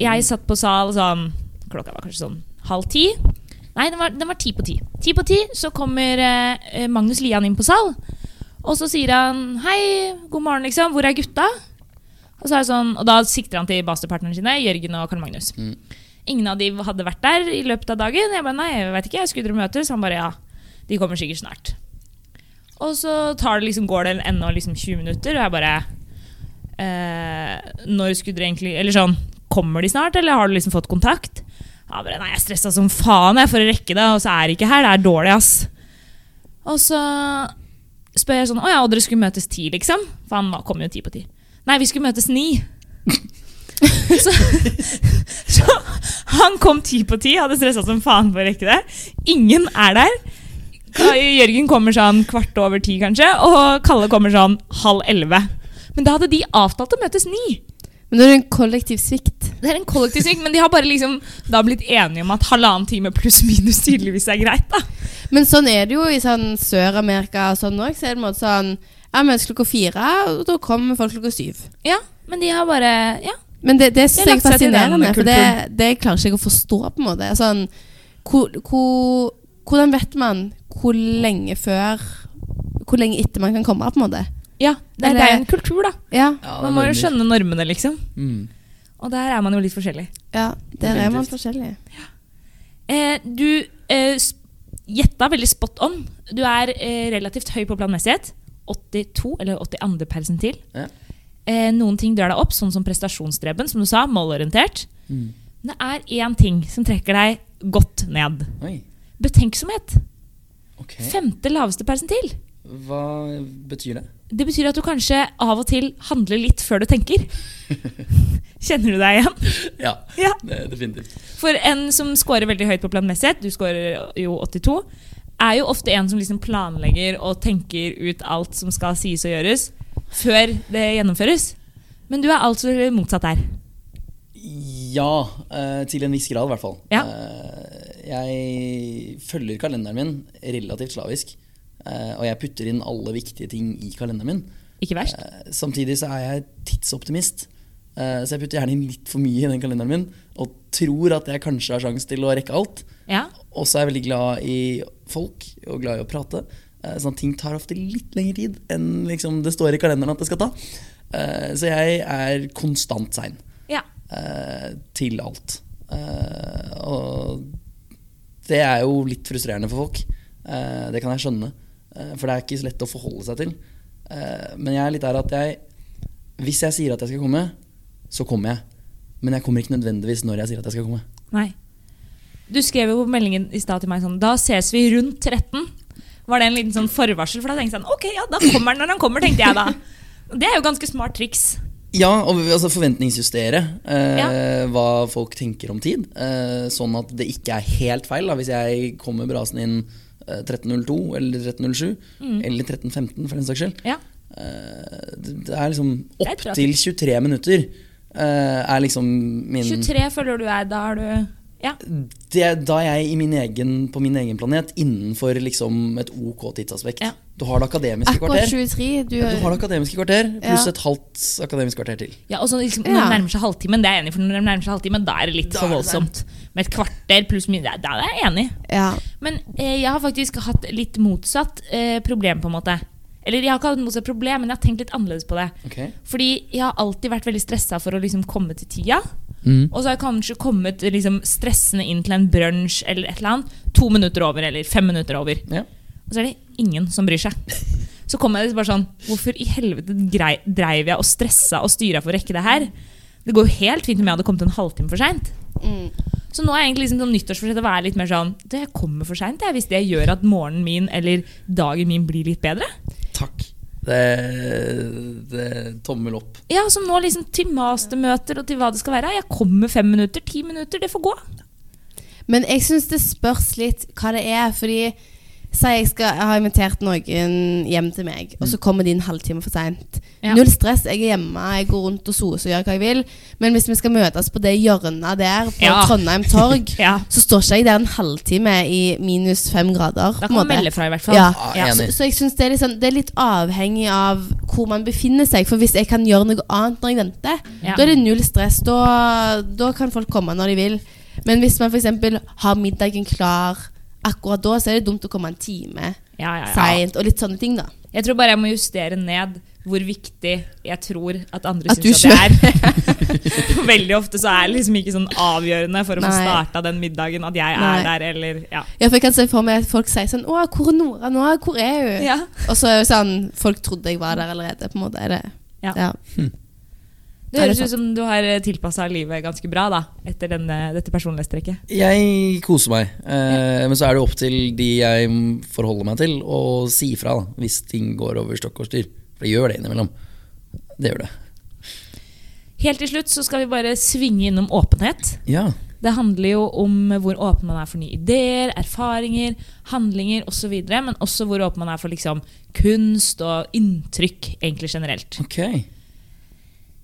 Speaker 1: Jeg satt på sal sånn Klokka var kanskje sånn halv ti. Nei, den var, den var ti på ti. Ti på ti så kommer eh, Magnus Lian inn på sal. Og så sier han 'hei, god morgen', liksom. 'Hvor er gutta?' Og, så er det sånn, og da sikter han til masterpartnerne sine, Jørgen og Karl Magnus. Ingen av de hadde vært der i løpet av dagen. Jeg bare 'nei, jeg vet ikke, jeg skulle dere møtes?' Han bare 'ja, de kommer sikkert snart'. Og så tar det liksom, går det ennå liksom 20 minutter, og jeg bare eh, Når skulle dere egentlig Eller sånn, kommer de snart, eller har du liksom fått kontakt? Ja, bare, nei, jeg er stressa som faen jeg for å rekke det, og så er de ikke her. Det er dårlig, ass. Og så spør jeg sånn Å ja, og dere skulle møtes ti, liksom? For han var- kom jo ti på ti. Nei, vi skulle møtes ni. så, så han kom ti på ti, hadde stressa som faen for å rekke det. Ingen er der. Kai- Jørgen kommer sånn kvart over ti, kanskje, og Kalle kommer sånn halv elleve. Men da hadde de avtalt å møtes ni.
Speaker 2: Men det er en kollektiv svikt.
Speaker 1: Det er en kollektiv svikt, men de har bare liksom da blitt enige om at halvannen time pluss minus tydeligvis er greit. da.
Speaker 2: Men sånn er det jo i sånn Sør-Amerika og sånn òg. Så er det på en måte sånn Ja, mens klokka fire, og da kommer folk klokka syv.
Speaker 1: Ja, Men de har bare ja.
Speaker 2: Men det, det er
Speaker 1: Det er lagt
Speaker 2: sykt
Speaker 1: seg til den
Speaker 2: fascinerende, for det,
Speaker 1: kulturen.
Speaker 2: det klarer ikke jeg å forstå, på en måte. Sånn, hvor, hvor, hvordan vet man hvor lenge før Hvor lenge etter man kan komme, på en måte?
Speaker 1: ja det, er,
Speaker 2: Eller-
Speaker 1: det er jo en kultur, da.
Speaker 2: Ja,
Speaker 4: Ja, det er
Speaker 1: Man må jo
Speaker 4: veldig-
Speaker 1: skjønne normene, liksom.
Speaker 4: Mm.
Speaker 1: Og der er man jo litt forskjellig.
Speaker 2: ja der er man
Speaker 4: Definitivt.
Speaker 2: forskjellig.
Speaker 1: Eh, du eh, s- gjetta veldig spot on. Du er eh, relativt høy på planmessighet. 82 eller 82. persentil.
Speaker 4: Ja.
Speaker 1: Eh, noen ting drar deg opp, sånn som prestasjonsdreben, som du sa. Målorientert.
Speaker 4: Mm.
Speaker 1: Men det er én ting som trekker deg godt ned.
Speaker 4: Oi,
Speaker 1: Betenksomhet.
Speaker 4: ok.
Speaker 1: Femte laveste persentil.
Speaker 4: Hva betyr det?
Speaker 1: Det betyr at du kanskje av og til handler litt før du tenker. Kjenner du deg igjen?
Speaker 4: Ja,
Speaker 1: Ja.
Speaker 4: det er definitivt.
Speaker 1: For en som scorer veldig høyt på planmessighet, du scorer jo 82, er jo ofte en som liksom planlegger og tenker ut alt som skal sies og gjøres, før det gjennomføres. Men du er altså motsatt der.
Speaker 4: Ja, eh, til en viss grad i hvert fall.
Speaker 1: Ja.
Speaker 4: Eh, Jeg følger kalenderen min relativt slavisk, eh, og jeg putter inn alle viktige ting i kalenderen min.
Speaker 1: Ikke verst.
Speaker 4: Eh, Samtidig så er jeg tidsoptimist, eh, så jeg putter gjerne inn litt for mye i den kalenderen min, og tror at jeg kanskje har sjanse til å rekke alt.
Speaker 1: Ja.
Speaker 4: Og så er jeg veldig glad i folk og glad i å prate. Eh, Sånn at ting tar ofte litt lengre tid enn liksom det står i kalenderen at det skal ta. Eh, Så jeg er konstant sein
Speaker 1: ja.
Speaker 4: eh, til alt. Eh, Og det er jo litt frustrerende for folk. Eh, Det kan jeg skjønne, eh, for det er ikke så lett å forholde seg til. Eh, Men jeg er litt der at jeg Hvis jeg sier at jeg skal komme, så kommer jeg. Men jeg kommer ikke nødvendigvis når jeg sier at jeg skal komme.
Speaker 1: Nei. Du skrev jo på meldingen i stad til meg sånn Da ses vi rundt 13. Var det en liten sånn forvarsel? For da tenkte jeg sånn, ok, ja, da kommer han når han kommer, tenkte jeg da. Og Det er jo ganske smart triks.
Speaker 4: Ja, og vi- altså forventningsjustere eh,
Speaker 1: Ja.
Speaker 4: hva folk tenker om tid. Eh, sånn at det ikke er helt feil da, hvis jeg kommer brasende inn eh, 13.02 eller 13.07 eller 13.15 for den saks skyld.
Speaker 1: Ja.
Speaker 4: Eh, det det er liksom
Speaker 1: Jeg tror at-
Speaker 4: opptil 23 minutter eh, er liksom min
Speaker 1: 23 føler du er, da har du Ja.
Speaker 4: det, da er jeg i min egen, på min egen planet innenfor liksom et ok tidsaspekt.
Speaker 1: Ja.
Speaker 4: Du har det akademiske
Speaker 2: Akkurat
Speaker 4: kvarter.
Speaker 2: 23. Du,
Speaker 4: Du har det akademiske kvarter pluss
Speaker 2: Ja.
Speaker 4: et halvt akademisk kvarter til.
Speaker 1: Ja, og så liksom,
Speaker 2: Ja.
Speaker 1: Når det nærmer seg halvtimen, det er jeg enig i, for når det nærmer seg halvtimen, da er det litt
Speaker 4: Da
Speaker 1: for
Speaker 4: er det
Speaker 1: voldsomt. Med et kvarter pluss minus, da er jeg enig.
Speaker 2: ja.
Speaker 1: Men eh, jeg har faktisk hatt litt motsatt eh, problem, på en måte. Eller jeg har ikke hatt motsatt problem, men jeg har tenkt litt annerledes på det.
Speaker 4: Ok.
Speaker 1: Fordi jeg har alltid vært veldig stressa for å liksom komme til tida.
Speaker 4: Mm.
Speaker 1: Og så har jeg kanskje kommet liksom, stressende inn til en brunsj eller et eller annet. To minutter over, eller fem minutter over.
Speaker 4: Ja.
Speaker 1: Og så er det ingen som bryr seg. Så kommer jeg bare sånn Hvorfor i helvete grei, dreiv jeg og stressa og styra for å rekke det her? Det går jo helt fint om jeg hadde kommet en halvtime for seint.
Speaker 2: Mm.
Speaker 1: Så nå er jeg egentlig liksom sånn nyttårsforsett å være litt mer sånn «Du, Jeg kommer for seint hvis det gjør at morgenen min eller dagen min blir litt bedre.
Speaker 4: Takk. Det, det Tommel opp.
Speaker 1: Ja, som nå liksom til mastermøter og til hva det skal være. Jeg kommer fem minutter, ti minutter, det får gå.
Speaker 2: Men jeg syns det spørs litt hva det er. Fordi Si jeg, skal, jeg har invitert noen hjem til meg, og så
Speaker 4: Mm.
Speaker 2: kommer de en halvtime for seint.
Speaker 1: Ja.
Speaker 2: Null stress, jeg er hjemme, jeg går rundt og soser og gjør hva jeg vil. Men hvis vi skal møtes på det hjørnet der, på
Speaker 1: Ja.
Speaker 2: Trondheim torg,
Speaker 1: Ja.
Speaker 2: så står ikke jeg der en halvtime i minus fem grader.
Speaker 1: Da
Speaker 2: på en
Speaker 1: kan man
Speaker 2: måte.
Speaker 1: melde fra, i hvert fall.
Speaker 2: Ja.
Speaker 4: Ja,
Speaker 1: Ja.
Speaker 4: enig.
Speaker 2: Så, så jeg synes det, er litt sånn- det er litt avhengig av hvor man befinner seg. For hvis jeg kan gjøre noe annet når jeg venter,
Speaker 1: Ja.
Speaker 2: da er det null stress. Da, da kan folk komme når de vil. Men hvis man f.eks. har middagen klar akkurat da, så er det dumt å komme en time
Speaker 1: Ja, ja, ja.
Speaker 2: seint. Og litt sånne ting, da.
Speaker 1: Jeg tror bare jeg må justere ned hvor viktig jeg tror at andre
Speaker 2: At du
Speaker 1: syns at det er. For Veldig ofte så er det liksom ikke sånn avgjørende for å få
Speaker 2: Nei.
Speaker 1: starta den middagen at jeg er
Speaker 2: Nei.
Speaker 1: der, eller ja.
Speaker 2: Ja, for jeg kan se for meg at folk sier sånn Å, hvor er Nora nå? Hvor er hun?
Speaker 1: Ja.
Speaker 2: Og så er det sånn Folk trodde jeg var der allerede, på en måte. Er det,
Speaker 1: Ja.
Speaker 2: ja.
Speaker 1: Det
Speaker 2: Er det
Speaker 1: høres ut som du har tilpassa livet ganske bra da, etter denne, dette personlighetstrekket.
Speaker 4: Jeg koser meg, eh, men så er det jo opp til de jeg forholder meg til, å si ifra da, hvis ting går over stokk og styr. For det gjør det innimellom. Det gjør det.
Speaker 1: Helt til slutt så skal vi bare svinge innom åpenhet.
Speaker 4: Ja.
Speaker 1: Det handler jo om hvor åpen man er for nye ideer, erfaringer, handlinger osv. Men også hvor åpen man er for liksom, kunst og inntrykk egentlig generelt.
Speaker 4: Ok.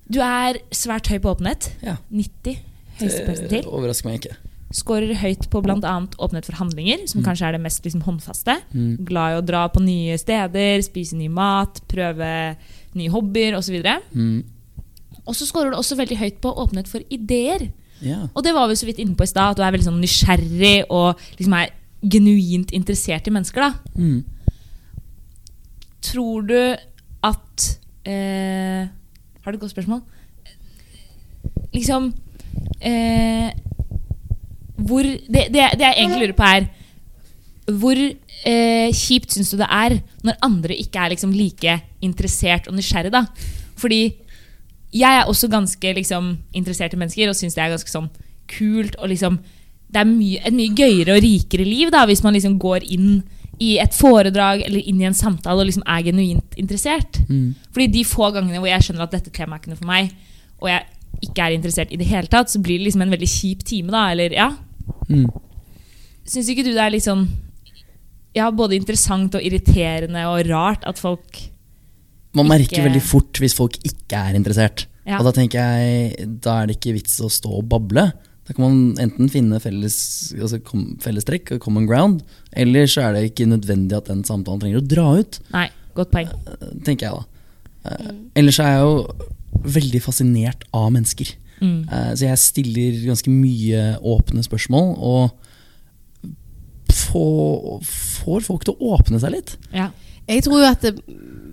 Speaker 1: Du er svært høy på åpenhet.
Speaker 4: Ja.
Speaker 1: 90 høyeste
Speaker 4: Det
Speaker 1: persentil.
Speaker 4: overrasker meg ikke.
Speaker 1: Skårer høyt på bl.a. åpenhet for handlinger, som kanskje er det mest liksom, håndfaste.
Speaker 4: Mm.
Speaker 1: Glad i å dra på nye steder, spise ny mat, prøve nye hobbyer osv.
Speaker 4: Mm.
Speaker 1: Og så skårer du også veldig høyt på åpenhet for ideer.
Speaker 4: Ja.
Speaker 1: Og det var vi så vidt inne på i stad, at du er veldig sånn nysgjerrig og liksom er genuint interessert i mennesker. da.
Speaker 4: Mm.
Speaker 1: Tror du at eh, Har du et godt spørsmål? Liksom eh, Hvor det, det, det jeg egentlig lurer på, er hvor eh, kjipt syns du det er når andre ikke er liksom like interessert og nysgjerrig? da? Fordi jeg er også ganske liksom, interessert i mennesker og syns det er ganske sånn kult. og liksom, Det er mye, et mye gøyere og rikere liv da, hvis man liksom går inn i et foredrag eller inn i en samtale og liksom er genuint interessert.
Speaker 4: Mm.
Speaker 1: Fordi de få gangene hvor jeg skjønner at dette temaet er ikke noe for meg, og jeg ikke er interessert i det hele tatt, så blir det liksom en veldig kjip time. da, eller ja.
Speaker 4: Mm.
Speaker 1: Syns ikke du det er litt sånn ja, både interessant og irriterende og rart at folk
Speaker 4: Man merker
Speaker 1: Ikke-
Speaker 4: veldig fort hvis folk ikke er interessert.
Speaker 1: Ja.
Speaker 4: Og da tenker jeg, da er det ikke vits å stå og bable. Da kan man enten finne felles, altså kom, fellestrekk og common ground, eller så er det ikke nødvendig at den samtalen trenger å dra ut,
Speaker 1: Nei, godt poeng.
Speaker 4: eh, tenker jeg da. Eh, Ellers er jeg jo veldig fascinert av mennesker.
Speaker 1: Mm.
Speaker 4: Eh, Så jeg stiller ganske mye åpne spørsmål, og få- får folk til å åpne seg litt.
Speaker 1: Ja.
Speaker 2: Jeg tror jo at det,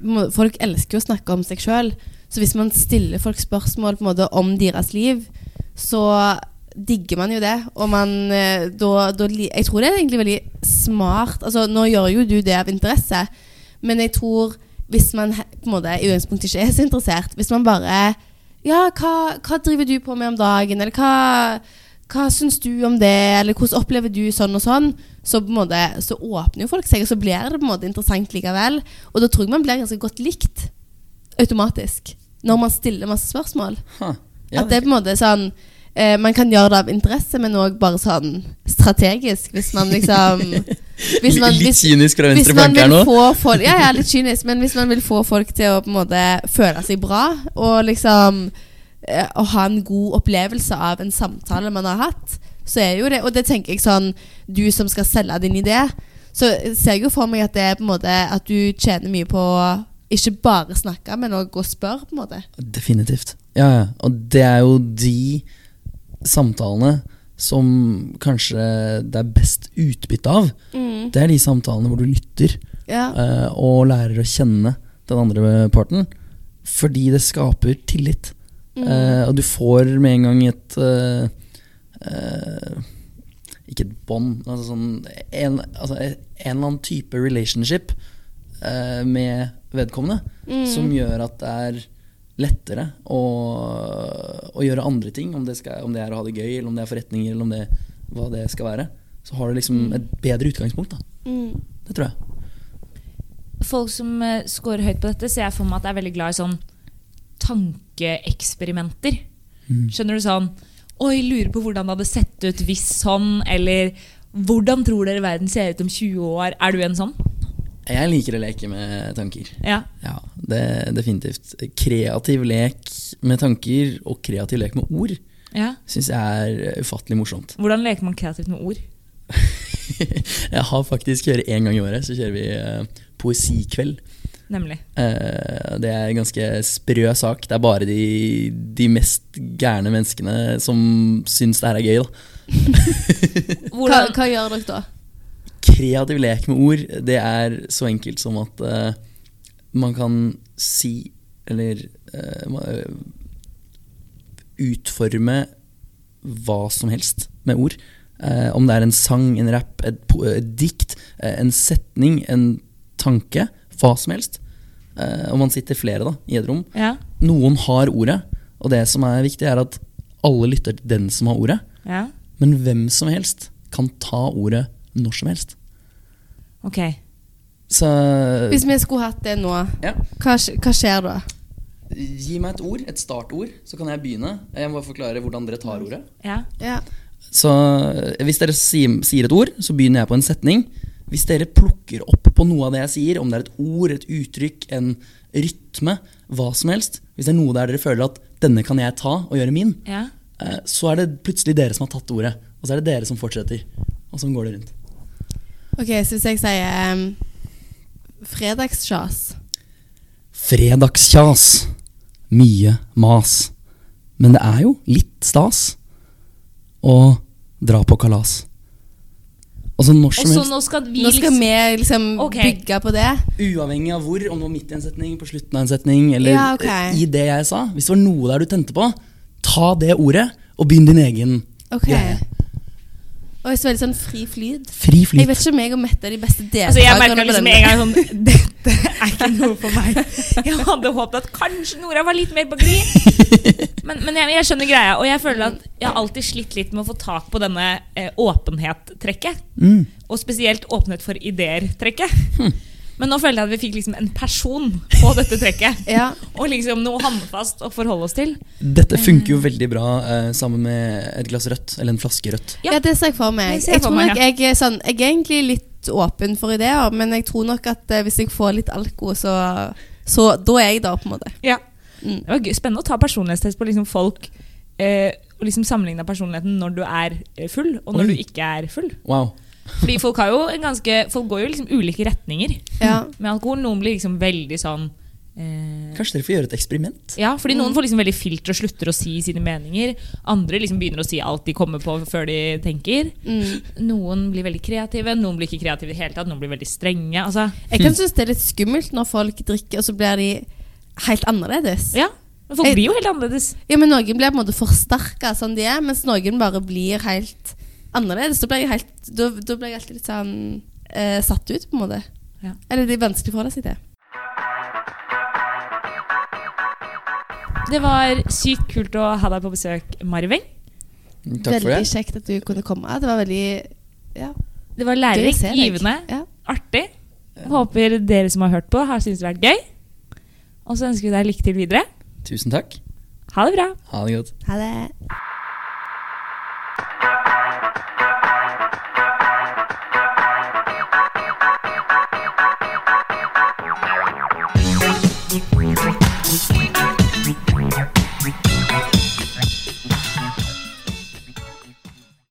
Speaker 2: må- folk elsker jo å snakke om seg sjøl. Så hvis man stiller folk spørsmål på en måte om deres liv, så digger man jo det. Og man eh, da, da li- Jeg tror det er egentlig veldig smart. Altså, nå gjør jo du det av interesse, men jeg tror hvis man he- på en måte i utgangspunktet ikke er så interessert Hvis man bare Ja, hva, hva driver du på med om dagen? Eller hva, hva syns du om det? Eller hvordan opplever du sånn og sånn? Så på en måte Så åpner jo folk seg, og så blir det på en måte interessant likevel. Og da tror jeg man blir ganske godt likt automatisk når man stiller masse spørsmål.
Speaker 4: Ha, ja,
Speaker 2: At det er på en måte sånn eh, Man kan gjøre det av interesse, men òg bare sånn strategisk, hvis man liksom hvis man,
Speaker 4: litt
Speaker 2: hvis,
Speaker 4: kynisk fra
Speaker 2: hvis
Speaker 4: venstre
Speaker 2: man
Speaker 4: flanke her
Speaker 2: vil
Speaker 4: nå.
Speaker 2: få folk Ja, jeg er litt kynisk, men hvis man vil få folk til å på en måte føle seg bra, og liksom eh, å ha en god opplevelse av en samtale man har hatt, så er jo det Og det tenker jeg sånn Du som skal selge din idé, så ser jeg jo for meg at det er på en måte at du tjener mye på å ikke bare snakke, men òg å spørre, på en måte.
Speaker 4: Definitivt. Ja, ja. Og det er jo de samtalene som kanskje det er best utbytte av. Det er de samtalene hvor du lytter
Speaker 2: Ja.
Speaker 4: eh, og lærer å kjenne den andre parten. Fordi det skaper tillit. Eh, og du får med en gang et eh, eh, Ikke et bånd, men altså sånn en, altså en eller annen type relationship eh, med vedkommende som gjør at det er lettere å, å gjøre andre ting. Om det, skal, om det er å ha det gøy, eller om det er forretninger, eller om det, hva det skal være. Så har du liksom et bedre utgangspunkt. da Det tror jeg.
Speaker 1: folk som eh, scorer høyt på dette, ser jeg for meg at er veldig glad i sånn tankeeksperimenter. Skjønner du sånn Oi, lurer på hvordan det hadde sett ut hvis sånn, eller Hvordan tror dere verden ser ut om 20 år? Er du en sånn?
Speaker 4: Jeg liker å leke med tanker.
Speaker 1: Ja.
Speaker 4: Ja, det Definitivt. Kreativ lek med tanker og kreativ lek med ord
Speaker 1: ja.
Speaker 4: syns jeg er ufattelig morsomt.
Speaker 1: Hvordan leker man kreativt med ord?
Speaker 4: jeg har faktisk kjører én gang i året, så kjører vi eh, poesikveld.
Speaker 1: Nemlig.
Speaker 4: Eh, Det er en ganske sprø sak. Det er bare de, de mest gærne menneskene som syns det her er gøy. Da.
Speaker 2: Hva,
Speaker 1: Hvordan,
Speaker 2: hva gjør dere da?
Speaker 4: Kreativ lek med ord, det er så enkelt som at eh, man kan si Eller eh, ma- eh, utforme hva som helst med ord. Eh, om det er en sang, en rap, et, po- et dikt, eh, en setning, en tanke. Hva som helst. Eh, og man sitter flere da, i et rom.
Speaker 1: ja.
Speaker 4: noen har ordet, og det som er viktig er at alle lytter til den som har ordet,
Speaker 1: ja.
Speaker 4: men hvem som helst kan ta ordet når som helst.
Speaker 1: Ok.
Speaker 4: Så
Speaker 2: Hvis vi skulle hatt det nå,
Speaker 4: ja.
Speaker 2: hva, sk- hva skjer da?
Speaker 4: gi meg et ord, et startord, så kan jeg begynne. Jeg må bare forklare hvordan dere tar ordet.
Speaker 1: Ja.
Speaker 2: Ja.
Speaker 4: Så eh, hvis dere sier, sier et ord, så begynner jeg på en setning. Hvis dere plukker opp på noe av det jeg sier, om det er et ord, et uttrykk, en rytme, hva som helst Hvis det er noe der dere føler at denne kan jeg ta og gjøre min,
Speaker 1: Ja.
Speaker 4: eh, så er det plutselig dere som har tatt ordet. Og så er det dere som fortsetter. Og sånn går det rundt.
Speaker 2: Ok, så hvis jeg sier um, fredagssjas
Speaker 4: Fredagskjas. Mye mas. Men det er jo litt stas å dra på kalas. Altså når
Speaker 1: Og
Speaker 4: som
Speaker 1: så
Speaker 4: helst.
Speaker 1: nå skal vi
Speaker 2: Nå skal vi liksom
Speaker 1: Ok.
Speaker 2: bygge på det.
Speaker 4: Uavhengig av hvor, om det var midt i en setning, på slutten av en setning, eller
Speaker 2: Ja, ok.
Speaker 4: eh, i det jeg sa. Hvis det var noe der du tente på, ta det ordet og begynn din egen
Speaker 2: Ok.
Speaker 4: greie.
Speaker 2: Og så veldig sånn fri flyt.
Speaker 4: Fri
Speaker 2: Jeg
Speaker 4: flyt.
Speaker 2: vet ikke om jeg og Mette er de beste
Speaker 1: Altså, jeg
Speaker 2: deltakerne.
Speaker 1: merka
Speaker 2: på
Speaker 1: liksom
Speaker 2: denne.
Speaker 1: en gang sånn Dette er ikke noe for meg. Jeg hadde håpet at kanskje Nora var litt mer på glid. Men, men jeg, jeg skjønner greia, og jeg føler at jeg har alltid slitt litt med å få tak på denne eh, åpenhet-trekket.
Speaker 4: Mm.
Speaker 1: Og spesielt åpenhet for ideer-trekket. Men nå følte jeg at vi fikk liksom en person på dette trekket.
Speaker 2: Ja.
Speaker 1: Og liksom noe håndfast å forholde oss til.
Speaker 4: Dette
Speaker 2: Mm.
Speaker 4: funker jo veldig bra eh, sammen med et glass rødt, eller en flaske rødt.
Speaker 1: Ja.
Speaker 2: ja, det ser jeg for meg.
Speaker 1: Det
Speaker 2: Jeg,
Speaker 1: ser jeg for
Speaker 2: tror
Speaker 1: meg,
Speaker 2: nok jeg er sånn Jeg er egentlig litt åpen for ideer, men jeg tror nok at eh, hvis jeg får litt alko, så, så da er jeg der, på en måte.
Speaker 1: Ja.
Speaker 2: Mm.
Speaker 1: Det var gøy. spennende å ta personlighetstest på liksom folk. Eh, og liksom sammenligne personligheten når du er eh, full, og når
Speaker 4: Oi.
Speaker 1: du ikke er full.
Speaker 4: Wow.
Speaker 1: Fordi folk, har jo en ganske, folk går jo liksom ulike retninger
Speaker 2: Ja.
Speaker 1: med alkohol. Noen blir liksom veldig sånn eh,
Speaker 4: Kanskje dere får gjøre et eksperiment?
Speaker 1: ja, fordi Noen får liksom veldig filter og slutter å si sine meninger. Andre liksom begynner å si alt de kommer på før de tenker.
Speaker 2: Mm.
Speaker 1: Noen blir veldig kreative, noen blir ikke kreative i det hele tatt. Noen blir veldig strenge. Altså,
Speaker 2: Jeg
Speaker 4: Hm.
Speaker 2: kan synes det er litt skummelt når folk drikker, og så blir de helt annerledes.
Speaker 1: ja, men Folk
Speaker 2: Jeg-
Speaker 1: blir jo helt annerledes.
Speaker 2: Ja, men noen blir på en måte forsterka sånn de er, mens noen bare blir helt annerledes. Da blir jeg, helt, da, da blir jeg alltid litt sånn eh, satt ut, på en måte.
Speaker 1: Ja.
Speaker 2: Eller det er vanskelig å forholde seg til.
Speaker 1: Det var sykt kult å ha deg på besøk, Marvin.
Speaker 4: Takk for
Speaker 2: veldig
Speaker 4: det.
Speaker 2: kjekt at du kunne komme. Det var veldig ja,
Speaker 1: Det var
Speaker 2: gøy å
Speaker 1: lærerikt,
Speaker 2: se deg.
Speaker 1: givende,
Speaker 2: Ja.
Speaker 1: artig. Håper dere som har hørt på, har syntes det har vært gøy. Og så ønsker vi deg lykke til videre.
Speaker 4: Tusen takk.
Speaker 1: Ha det bra.
Speaker 4: Ha det godt.
Speaker 2: Ha det.